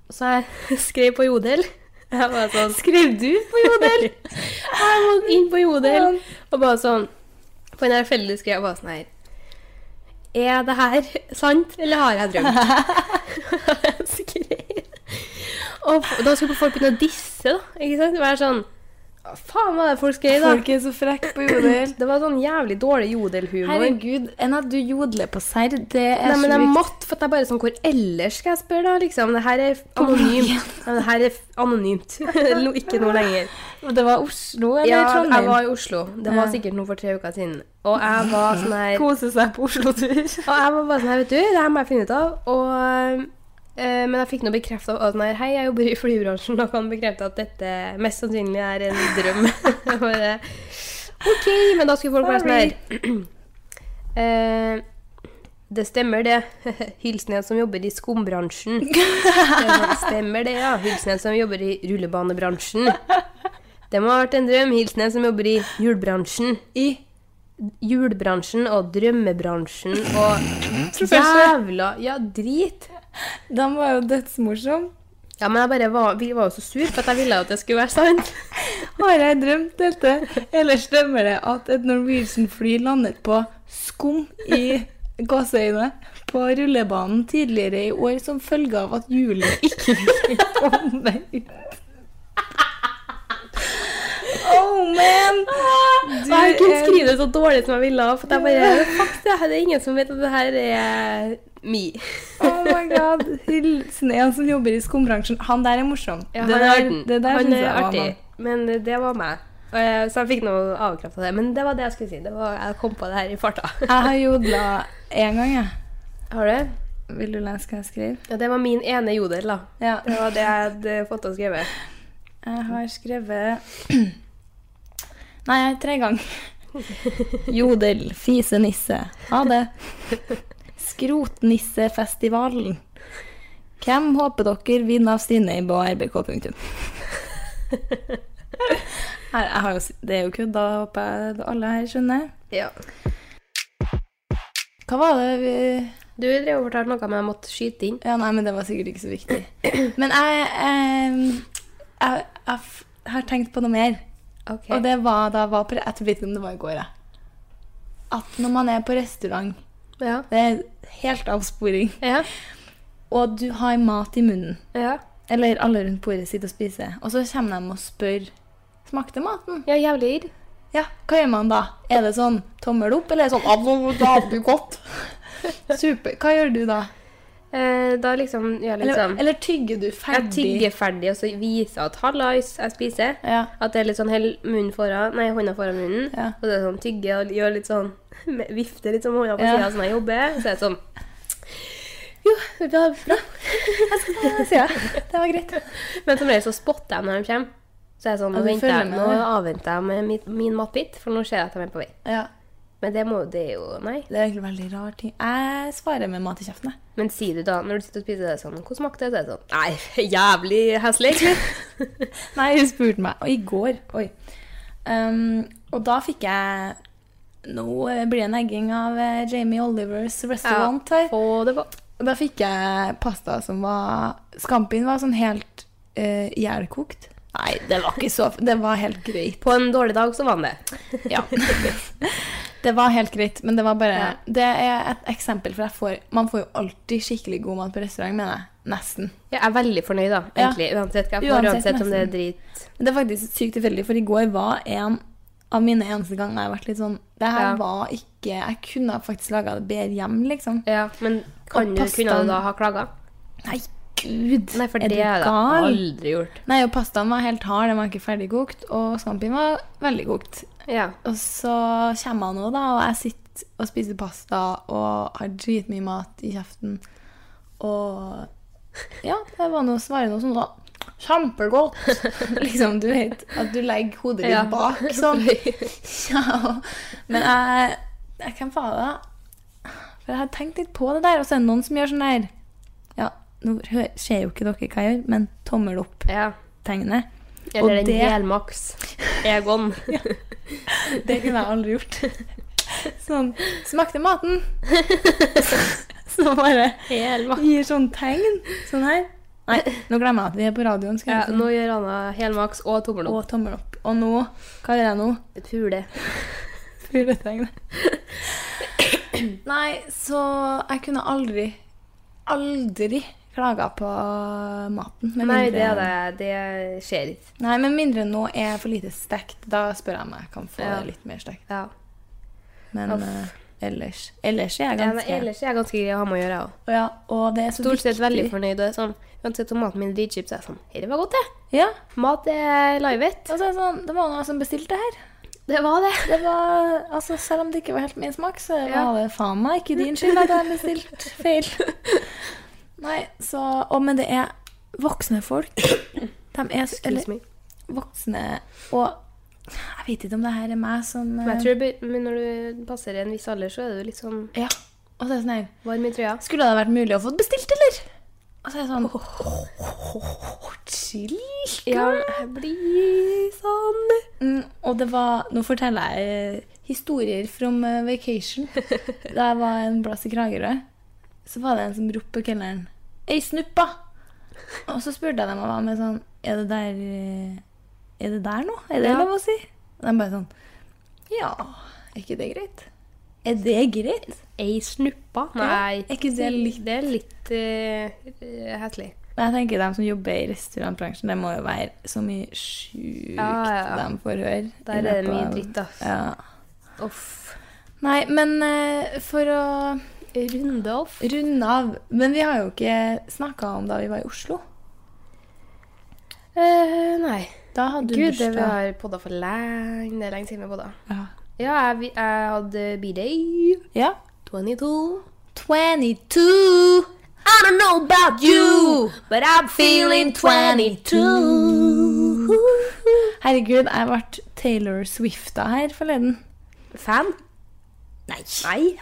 S4: Og så jeg skrev på Jodel. Jeg bare sånn, Skrev du på Jodel? jeg må inn på Jodel. Og bare sånn På en her felles skrev jeg bare sånn her Er det her sant, eller har jeg drømt? skrev. Og f- da skulle folk begynne å disse, da. Ikke sant? Være sånn Hva faen var det folk skrev, da?
S3: Folk er så frekke på jodel.
S4: Det var sånn jævlig dårlig jodelhumor.
S3: Herregud, enn at du jodler på serr, det er
S4: Nei, men jeg
S3: sjukt.
S4: måtte, for at jeg bare sånn, Hvor ellers skal jeg spørre, da? liksom? Det her er anonymt. Nei, Det her er f- anonymt. No- ikke noe lenger.
S3: Det var Oslo eller
S4: Ja, jeg
S3: Trondheim?
S4: var i Oslo. Det var sikkert noe for tre uker siden. Og jeg var sånn her Og
S3: Kose seg på Oslo-tur.
S4: jeg var bare sånn her, vet du, det her må jeg finne ut av. Og, eh, men jeg fikk nå bekrefta at sånn her, hei, jeg jobber i flybransjen og kan bekrefte at dette mest sannsynlig er en drøm. Jeg bare, OK, men da skulle folk være sånn her eh, det stemmer, det. Hilsen en som jobber i skumbransjen. Det stemmer det, ja. Hilsen en som jobber i rullebanebransjen. Det må ha vært en drøm. Hilsen en som jobber i hjulbransjen. I hjulbransjen og drømmebransjen og Jævla Ja, drit.
S3: De var jo dødsmorsomme.
S4: Ja, men jeg bare var, vi var jo så sur, for at jeg ville jo at det skulle være sant.
S3: Har jeg drømt dette? Eller stemmer det at et Norwegian-fly landet på skum i gåseøyne på rullebanen tidligere i år som følge av at hjulet ikke ville komme ut? Oh man! Du
S4: jeg kunne
S3: er-
S4: skrive det så dårlig som jeg ville, for at jeg bare Fuck det, her, det er ingen som vet at det her er me.
S3: Oh my god. Hilsen en som jobber i skumbransjen. Han der er morsom.
S4: Ja,
S3: det
S4: han er
S3: der,
S4: arten.
S3: det der
S4: han
S3: synes
S4: er
S3: jeg var
S4: artig.
S3: han.
S4: Men det var meg. Og jeg- Så jeg fikk noe avkraft av det. Men det var det jeg skulle si. Det var, jeg kom på det her i farta.
S3: Jeg har jodla én gang, jeg.
S4: Har du?
S3: Vil du lese hva jeg skrev?
S4: Ja, det var min ene jodel, da.
S3: Ja.
S4: Det var det jeg hadde fått og skrevet.
S3: Jeg har skrevet Nei, jeg er tre ganger. Jodel, fisenisse. Ha det. Skrotnissefestivalen. Hvem håper dere vinner av Stine på rbk. punktum? Her, jeg har jo, s- det er jo kødd, da håper jeg alle her skjønner.
S4: Ja.
S3: Hva var det vi
S4: Du drev og fortalte noe om jeg måtte skyte inn.
S3: Ja, nei, men det var sikkert ikke så viktig. Men jeg, em, jeg, jeg f- har tenkt på noe mer.
S4: Ok.
S3: Og det var da jeg var på Jeg vet ikke om det var i går, jeg. At når man er på restaurant
S4: Ja.
S3: Det er helt avsporing.
S4: Ja.
S3: Og du har mat i munnen.
S4: ja.
S3: Eller alle rundt bordet sitter og spiser. Og så kommer de og spør Smakte maten?
S4: Ja, jævlig irr.
S3: Ja, hva gjør man da? Er det sånn tommel opp, eller er det sånn «Ah, nå- Da hadde du godt. Super. Hva gjør du da?
S4: Eh, da liksom gjør jeg litt
S3: Eller,
S4: sånn
S3: eller tygger du
S4: Jeg
S3: ferdig?
S4: tygger ferdig, og så viser jeg at 'hallais, jeg spiser'.
S3: Ja.
S4: At det er litt sånn hell munnen foran, nei, hånda foran munnen.
S3: Ja.
S4: Og så er det sånn tygge og gjør litt sånn med- Vifter litt sånn med hånda på
S3: Ja.
S4: sida sånn jeg jobber. Så er det sånn Jo, det var bra.
S3: Ja, det var greit.
S4: Men som regel så spotter jeg når de kommer. Så er det sånn,
S3: Ja,
S4: nå,
S3: du
S4: venter
S3: følger
S4: jeg,
S3: med,
S4: nå
S3: ja.
S4: avventer jeg med min, min matbit, for nå ser jeg at de er på vei.
S3: Ja,
S4: Men det må det er jo Nei.
S3: det er egentlig veldig rar ting. Jeg svarer med mat i kjeften, jeg.
S4: Men sier du da, når du sitter og spiser, det er sånn Hvordan smakte det? Så er det sånn Nei, jævlig heslig, egentlig.
S3: Nei, hun spurte meg. Og i går. Oi. Um, og da fikk jeg Nå eh, blir det en egging av eh, Jamie Olivers restaurant her.
S4: Få det på.
S3: Og Da fikk jeg pasta som var Scampien var sånn helt uh, jævlkokt. Nei, det var ikke så Det var helt greit.
S4: På en dårlig dag så var han det.
S3: Ja. det var helt greit, men det var bare Det er et eksempel, for jeg får, man får jo alltid skikkelig god mat på restaurant, mener jeg. Nesten.
S4: Jeg er veldig fornøyd, da,
S3: Ja.
S4: egentlig. Uansett hva jeg får,
S3: Uansett,
S4: uansett om det er
S3: nesten.
S4: drit.
S3: Det er faktisk sykt tilfeldig, for i går var en av mine eneste ganger jeg har vært litt sånn Det her
S4: Ja.
S3: var ikke Jeg kunne faktisk laga det bedre hjem, liksom.
S4: Ja, men kan
S3: Og
S4: du,
S3: pastaen-
S4: kunne du da ha klaga?
S3: Nei, gud!
S4: Nei, for
S3: er
S4: det
S3: du
S4: har jeg da
S3: gal?
S4: aldri gjort.
S3: Nei, og pastaen var helt hard, den var ikke ferdigkokt, og scampien var veldig kokt.
S4: Ja.
S3: Og så kommer han nå, da, og jeg sitter og spiser pasta og har dritmye mat i kjeften. Og ja, det var noe svaret noe sånn da. Kjempegodt! liksom, du vet at du legger hodet ditt
S4: Ja.
S3: bak sånn. ja. Men jeg, jeg Hvem var det? da? For jeg har tenkt litt på det der, og så er det noen som gjør sånn der Ja, nå hø- ser jo ikke dere hva jeg gjør, men tommel
S4: ja.
S3: opp-tegnet. Og
S4: Eller en
S3: det-
S4: helmaks. Egon.
S3: Det kunne jeg aldri gjort. Sånn Smakte maten! Så bare
S4: Helmaks.
S3: gir sånn tegn. Sånn her. Nei, nå glemmer jeg at vi er på radioen. Skal
S4: Ja,
S3: jeg si.
S4: nå gjør Anna helmaks og tommel
S3: Og
S4: opp.
S3: tommel opp. Og nå Hva gjør jeg nå?
S4: Pule.
S3: Fugletegnet. Nei, så jeg kunne aldri, aldri klaga på maten. med
S4: Nei,
S3: mindre-
S4: det, er det, det skjer ikke.
S3: Nei, med mindre nå er for lite stekt. Da spør jeg om jeg kan få
S4: Ja.
S3: det litt mer stekt.
S4: Ja.
S3: Men
S4: Uff.
S3: eh, ellers Ellers er jeg
S4: Ja, nei,
S3: ganske
S4: ellers er jeg ganske grei å ha med å gjøre. jeg også.
S3: Og ja, og det er så
S4: Stort sett veldig
S3: viktig.
S4: fornøyd. og det er Sånn, uansett om maten min er dritchips, er jeg sånn Dette var godt, det.
S3: Ja.
S4: Mat er livet.
S3: Og så er det sånn, det var noen som bestilte det her.
S4: Det var det.
S3: Det var, altså Selv om det ikke var helt min smak, så
S4: Ja.
S3: var det faen meg ikke din skyld at jeg bestilte feil. Nei, så Og men det er voksne folk. De er s-
S4: Eller,
S3: Eller voksne Og jeg vet ikke om det her er meg som
S4: Men jeg
S3: eh,
S4: tror det blir- men når du passer en viss alder, så er du litt sånn
S3: Ja. Og så er det sånn her
S4: varm i trøya.
S3: Skulle det vært mulig å få bestilt, eller? Og så er det sånn Chill.
S4: Ja, jeg blir sånn
S3: Mm, og det var Nå forteller jeg eh, historier from eh, vacation. Da jeg var en plass i Kragerø, så var det en som ropte på kelneren Ei, snuppa! Og så spurte jeg dem og var med sånn Er det der eh, Er det der nå? Er det lov å si? Og de bare sånn Ja, er ikke det greit? Er det greit?
S4: Ei snuppa? Nei.
S3: Er ikke det litt
S4: Det er litt uh, heslig.
S3: Men jeg tenker de som jobber i restaurantbransjen, det må jo være så mye sjukt
S4: Ja, ja, ja.
S3: de får høre. i
S4: Der er det
S3: løpet
S4: mye
S3: av-
S4: dritt, ass.
S3: Ja.
S4: Uff.
S3: Nei, men eh, for å
S4: Runde off.
S3: runde av Men vi har jo ikke snakka om da vi var i Oslo.
S4: Eh, nei.
S3: Da hadde du
S4: Gud, det vi
S3: bursdag.
S4: har podda for lenge. Det er lenge siden vi har podda.
S3: Ja.
S4: Ja, jeg, vi- jeg hadde B-day
S3: ja.
S4: 22.
S3: 22. I don't know about you, but I'm feeling 22. Herregud, jeg ble Taylor Swifta her forleden.
S4: Fan?
S3: Nei.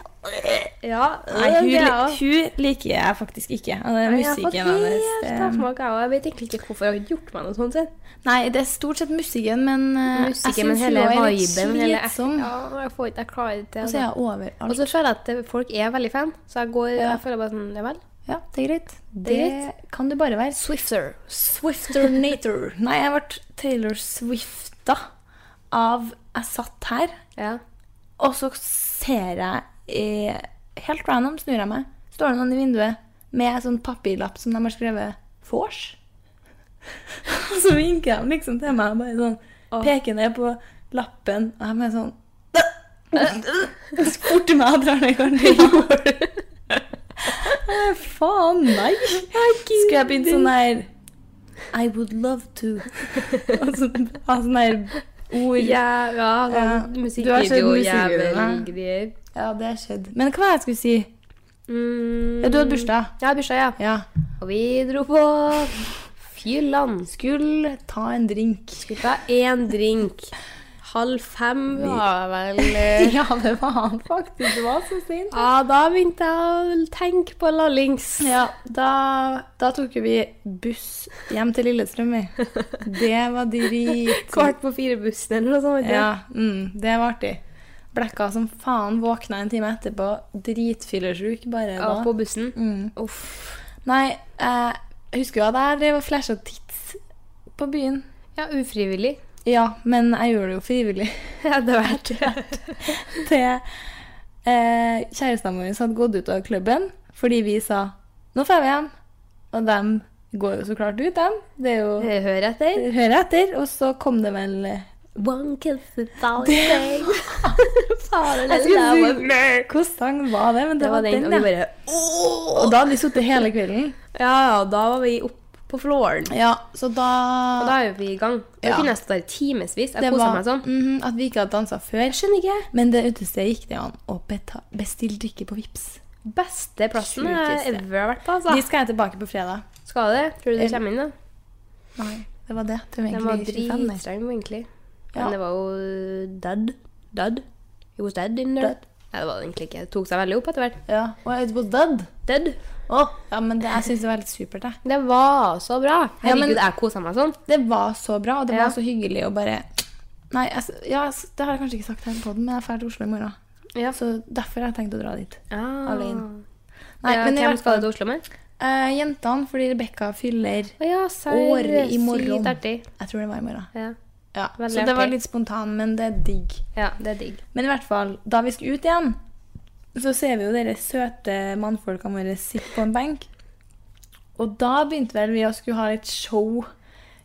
S4: Ja.
S3: hun,
S4: det er jeg også.
S3: hun liker jeg faktisk ikke. Og det er
S4: Nei, jeg har fått
S3: musikken hennes. eh.
S4: helt
S3: det-
S4: avsmak, jeg også. Jeg vet egentlig ikke hvorfor jeg har gjort meg noe sånt. Sett.
S3: Nei, det er stort sett musikken, men eh,
S4: Musikken,
S3: jeg
S4: men
S3: syns hun
S4: hele
S3: også er litt
S4: viben hele
S3: slitsom.
S4: Ja, jeg, får ikke, jeg klarer ikke det.
S3: Og så er
S4: altså.
S3: jeg over
S4: Og
S3: alt.
S4: så føler jeg at det- folk er veldig fan, så jeg, går,
S3: Ja.
S4: jeg føler bare sånn Ja vel.
S3: Ja, det er greit. Det,
S4: er
S3: kan du bare være. Swifter. Swifter-nator. Nei, jeg ble Taylor Swifta av Jeg satt her,
S4: Ja.
S3: og så ser jeg eh, Helt random snur jeg meg. Står det noen i vinduet med en sånn papirlapp som de har skrevet 'Vors'? Og så vinker de liksom til meg og bare sånn peker ned på lappen, og jeg bare sånn Spurte meg og drar ned garderoben. Eh, Faen, nei. Skulle jeg begynt sånn her I would love to. Og så ha sånn her ord. Ja.
S4: Ja, ja,
S3: Ja.
S4: sånn
S3: Du har sett
S4: musikkvideo,
S3: musikkvideoen,
S4: jævel greier.
S3: det har skjedd. Men hva var det jeg skulle si?
S4: Mm.
S3: Ja, du hadde bursdag.
S4: Jeg hadde bursdag, ja.
S3: Ja.
S4: Og vi dro på Fylland.
S3: Skulle ta en drink.
S4: Skulle ta én drink. Halv fem var vel eh.
S3: Ja, det var han faktisk. Det var så sint.
S4: Ja, da begynte jeg å tenke på Lallings.
S3: Ja, da, da tok jo vi buss hjem til Lillestrøm, vi. Det var drit.
S4: Kvart på fire-bussen eller noe sånt. vet du.
S3: Ja, mm, det var artig. Blekka som faen, våkna en time etterpå, dritfyllesyk bare
S4: Ja,
S3: da.
S4: på bussen.
S3: Mm.
S4: Uff.
S3: Nei, eh, jeg husker jo at jeg drev og flasha tits på byen.
S4: Ja, ufrivillig.
S3: Ja, men jeg gjorde det jo frivillig.
S4: Ja, det var det.
S3: Det, eh, kjæresten vår hadde gått ut av klubben fordi vi sa 'nå får vi hjem'. Og dem går jo så klart ut, dem. Det er jo
S4: Hør etter.
S3: Hører etter. Og så kom det vel eh,
S4: One kiss a thousand. Faen,
S3: Jeg
S4: det
S3: skulle
S4: der var-
S3: si- Hvilken sang var det? Men det,
S4: Det var den, og vi
S3: ja.
S4: bare
S3: Og da hadde vi sittet hele kvelden.
S4: Ja, ja, da var vi oppe på flåren.
S3: Ja, så da
S4: Og da er jo vi i gang. Jeg
S3: Ja.
S4: kunne jeg stått der i timevis. Jeg
S3: Det
S4: kosa
S3: var-
S4: meg sånn.
S3: Mhm, at vi ikke hadde dansa før. skjønner ikke. Men det utestedet gikk det an å beta- bestille drikke på Vips.
S4: Beste plassen jeg
S3: Sjukeste.
S4: ever har vært på.
S3: De
S4: Altså.
S3: skal jeg tilbake på fredag.
S4: Skal det? Tror du det kommer inn, da?
S3: Nei, det var det. Det var
S4: Den var
S3: egentlig 25, der.
S4: dritstreng, egentlig.
S3: Ja.
S4: Men det var jo dead. Dead. It was dead in there.
S3: Dead.
S4: Nei, det var det egentlig ikke. Det tok seg veldig opp etter hvert.
S3: Ja, og jeg var dødd.
S4: Dead.
S3: Åh, ja, men det, jeg syns det var helt supert. Jeg.
S4: Det var så bra.
S3: Ja, men-
S4: Herregud, jeg kosa meg sånn.
S3: Det var så bra, og det
S4: Ja.
S3: var så hyggelig å bare Nei, jeg, s- ja, s- det har jeg kanskje ikke sagt her på den, men jeg drar til Oslo i morgen.
S4: Ja.
S3: Så derfor har jeg tenkt å dra dit.
S4: Ah.
S3: Alene.
S4: Nei,
S3: Nei, men i
S4: hvem
S3: hvert
S4: skal
S3: fall
S4: du til Oslo med?
S3: eh, Jentene, fordi Rebekka fyller
S4: Å ja,
S3: Året i
S4: Sykt
S3: morgen.
S4: artig.
S3: Jeg tror det var i morgen.
S4: Ja.
S3: Ja,
S4: Veldig
S3: så det var
S4: artig.
S3: litt spontan, men det er digg.
S4: ja, det er digg.
S3: Men i hvert fall, da vi skulle ut igjen, så ser vi jo dere søte mannfolkene våre sitte på en benk. Og da begynte vel vi å skulle ha litt show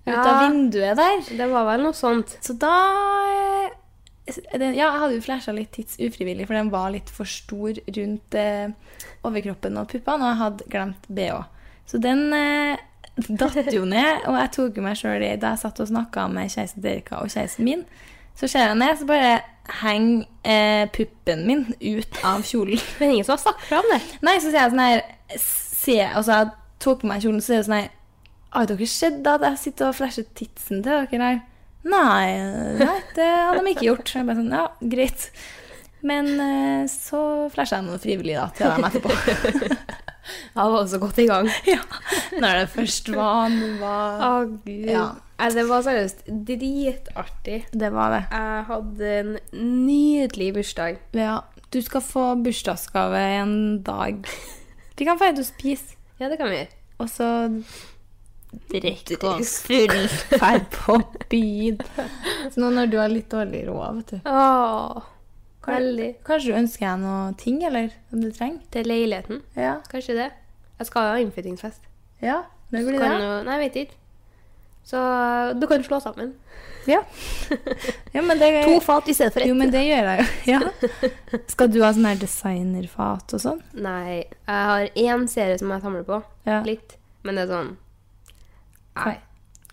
S3: ut av
S4: Ja.
S3: vinduet der.
S4: Det var vel noe sånt.
S3: Så da eh, det, Ja, jeg hadde jo flasha litt tids ufrivillig, for den var litt for stor rundt eh, overkroppen og puppene, og jeg hadde glemt BH. Så den eh, datt jo ned, og jeg tok jo meg sjøl i Da jeg satt og snakka med kjæresten Derika og kjæresten min, så ser jeg ned, så bare henger eh, puppen min ut av kjolen.
S4: Men ingen som har snakket om det.
S3: Nei, så sier jeg sånn her se, Og så jeg tok på meg kjolen, så er det sånn her Har dere sett da at jeg sitter og flasher titsen til dere her? Nei, nei, det hadde de ikke gjort. Så jeg bare sånn, ja, greit. Men eh, så flasha jeg noe frivillig da, til dem etterpå.
S4: Jeg var også godt i gang.
S3: ja, Når det først var nå var
S4: Å, gud.
S3: Ja.
S4: Nei, Det var seriøst dritartig.
S3: Det var det.
S4: Jeg hadde en nydelig bursdag.
S3: Ja, du skal få bursdagsgave en dag. Vi kan dra ut og spise,
S4: Ja, det kan vi gjøre.
S3: og så
S4: drikke oss full.
S3: Ferd på byen. Så nå når du har litt dårlig råd, vet du
S4: Åh, veldig.
S3: Kanskje du ønsker deg noe ting, eller? Som du trenger?
S4: Til leiligheten.
S3: Ja.
S4: Kanskje det. Jeg skal ha innflyttingsfest.
S3: ja det blir
S4: Kan
S3: det.
S4: jo- Nei, jeg vet ikke. Så du kan slå sammen.
S3: Ja. ja, men det
S4: To fat i stedet for ett.
S3: Eh, Jo, men det gjør jeg jo. Ja. Skal du ha sånn her designerfat og sånn?
S4: Nei, jeg har én serie som jeg samler på.
S3: Ja.
S4: Litt. Men det er sånn
S3: Hva,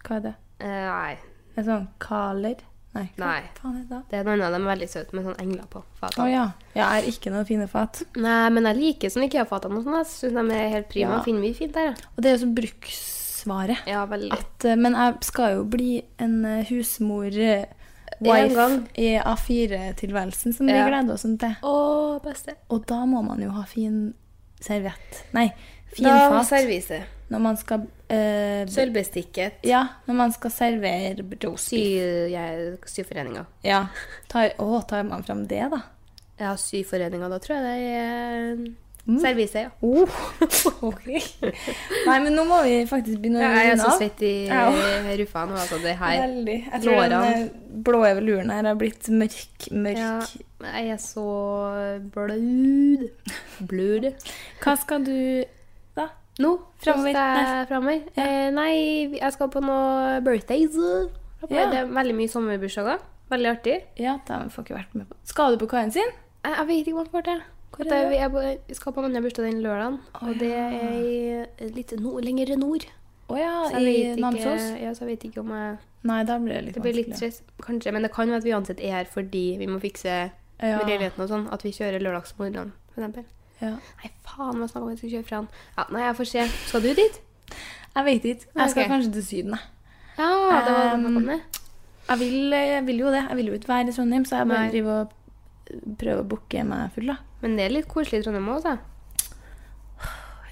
S3: hva er det?
S4: eh, Nei.
S3: En sånn kaler? Nei. Hva
S4: Nei.
S3: faen er det? da?
S4: Det er noen av dem er veldig søte med sånn engler på
S3: Å
S4: fatene.
S3: ja. Jeg har ikke noen fine fat.
S4: Nei, men jeg liker sånn IKEA-fatene og sånn. Jeg syns de er helt prima.
S3: Ja.
S4: Finner mye fint der, ja.
S3: Og det er jo så bruksvare.
S4: ja veldig.
S3: At, eh, men jeg skal jo bli en eh, husmor eh,
S4: En
S3: Wife
S4: gang.
S3: i A4-tilværelsen som vi
S4: Ja.
S3: gleder oss til.
S4: Å, beste.
S3: Og da må man jo ha fin serviett. Nei, fin
S4: Da
S3: fat.
S4: servise.
S3: Når man skal eh,
S4: Sølvbestikket.
S3: Ja, når man skal servere
S4: Sy,
S3: rosi.
S4: jeg, syforeninga.
S3: Ja. Tar, å, tar man fram det, da?
S4: Ja, syforeninga. Da tror jeg det er servise, ja.
S3: Oh, ok. Nei, men nå må vi faktisk begynne å
S4: Ja, Jeg er
S3: runde
S4: så
S3: av.
S4: svett i
S3: Au.
S4: ruffa nå, altså. Det her.
S3: Veldig. Jeg tror den
S4: Lårene.
S3: eh, blå eveluren her har blitt mørk, mørk.
S4: Ja, jeg er så blød. Blød.
S3: Hva skal du da?
S4: Nå
S3: Fremover.
S4: framover. framover. Eh, nei, vi- jeg skal på noe birthdays.
S3: Ja.
S4: Det er veldig mye sommerbursdager. Veldig artig.
S3: Ja, da får ikke vært med på Skal du på kaien sin?
S4: Jeg, jeg vet ikke hva jeg får til.
S3: Hvor
S4: At
S3: er
S4: jeg,
S3: det?
S4: jeg, bare- jeg skal på en annen bursdag den lørdagen, og det er i- litt no, lenger nord.
S3: Å ja,
S4: Så jeg
S3: i
S4: vet ikke-
S3: Namsos?
S4: Ja, så jeg vet ikke om jeg
S3: Nei, da blir det litt
S4: Det blir litt
S3: vanskelig.
S4: stress, kanskje. Men det kan være at vi uansett er her fordi vi må fikse med
S3: ja.
S4: leiligheten og sånn. At vi kjører lørdagsmorgenen, for eksempel.
S3: Ja.
S4: Nei, faen, hva snakka vi om? Jeg skal kjøre fra han. Ja, nei, jeg får se. Skal du dit?
S3: Jeg vet ikke. Jeg skal
S4: Ok.
S3: kanskje til Syden, jeg.
S4: Ja, det var
S3: Um,
S4: noe med.
S3: Jeg vil, eh, jeg vil jo det. Jeg vil jo ikke være i Trondheim, så jeg bare
S4: Nei.
S3: driver og eh, prøver å booke meg full, da.
S4: Men det er litt koselig i Trondheim òg, da.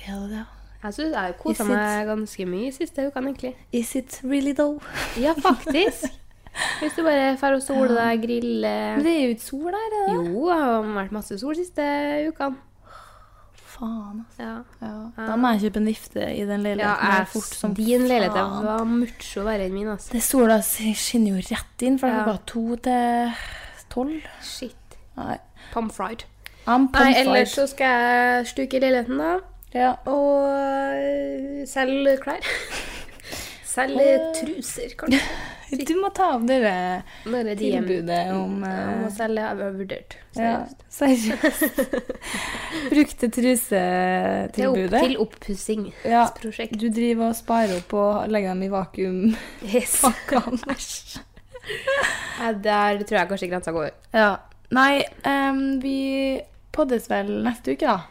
S3: Ja, det
S4: Jeg synes jeg har kosa
S3: Is it-
S4: meg ganske mye siste ukene, egentlig.
S3: Is it really though?
S4: Ja, faktisk. Hvis du bare drar og soler deg, griller
S3: Men det er jo ikke sol der, er det?
S4: Jo, det har vært masse sol siste ukene.
S3: Faen, altså.
S4: Ja.
S3: Da må jeg kjøpe en vifte i den leiligheten her fort som
S4: Din leilighet
S3: faen.
S4: var mucho verre enn min. altså.
S3: Det sola skinner jo rett inn, for det er
S4: Ja.
S3: klokka to til tolv.
S4: Shit.
S3: Nei,
S4: Pom fried.
S3: I'm
S4: Nei,
S3: pumped.
S4: ellers så skal jeg stuke i leiligheten, da.
S3: ja.
S4: Og selge klær. selge truser, kanskje.
S3: Du må ta av dere
S4: Når er de hjem?
S3: tilbudet
S4: Om
S3: om
S4: å
S3: eh,
S4: selge jeg har vurdert.
S3: ja,
S4: seriøst.
S3: Seriøst. Brukte
S4: Det er opp
S3: trusetilbudet.
S4: til oppussingsprosjekt.
S3: Ja. Du driver og sparer opp og legger dem i vakuum.
S4: Yes. Æsj. Nei, Der tror jeg kanskje grensa går.
S3: Ja. Nei, em, vi poddes vel neste uke, da.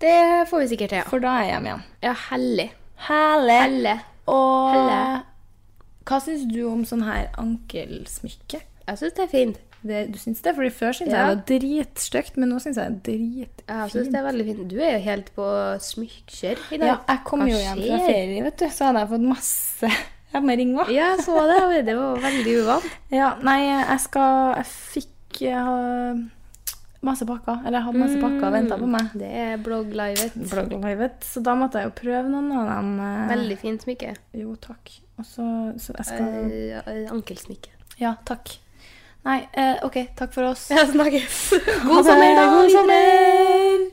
S4: Det får vi sikkert til, ja.
S3: For Eh. da er jeg hjemme igjen.
S4: Ja, hellig.
S3: Herlig.
S4: Helle.
S3: Og
S4: Helle.
S3: hva syns du om sånn her ankelsmykke?
S4: Jeg syns det er fint.
S3: Det, du syns det? Fordi før syns
S4: Ja.
S3: jeg det var dritstygt, men nå syns jeg det er dritfint.
S4: Jeg synes det er veldig fint. Du er jo helt på smykker i
S3: Ja,
S4: dag.
S3: jeg kom
S4: Hva
S3: jo hjem fra
S4: skjer?
S3: ferie, vet du, så hadde jeg fått masse Jeg må ringe henne.
S4: Ja, jeg så det. Det var veldig uvant.
S3: Ja, nei, jeg skal Jeg fikk jeg har masse pakker. Eller jeg hadde masse pakker og venta på meg.
S4: Det er blogglivet.
S3: Blogglivet. Så da måtte jeg jo prøve noen av dem. eh,
S4: Veldig fint smykke.
S3: Jo, takk. Og så, så jeg skal
S4: Eh, Ankelsmykke.
S3: Ja, takk. Nei, eh, OK. Takk for oss.
S4: Ja, snakkes.
S3: God sommer, da!
S4: God
S3: sommer!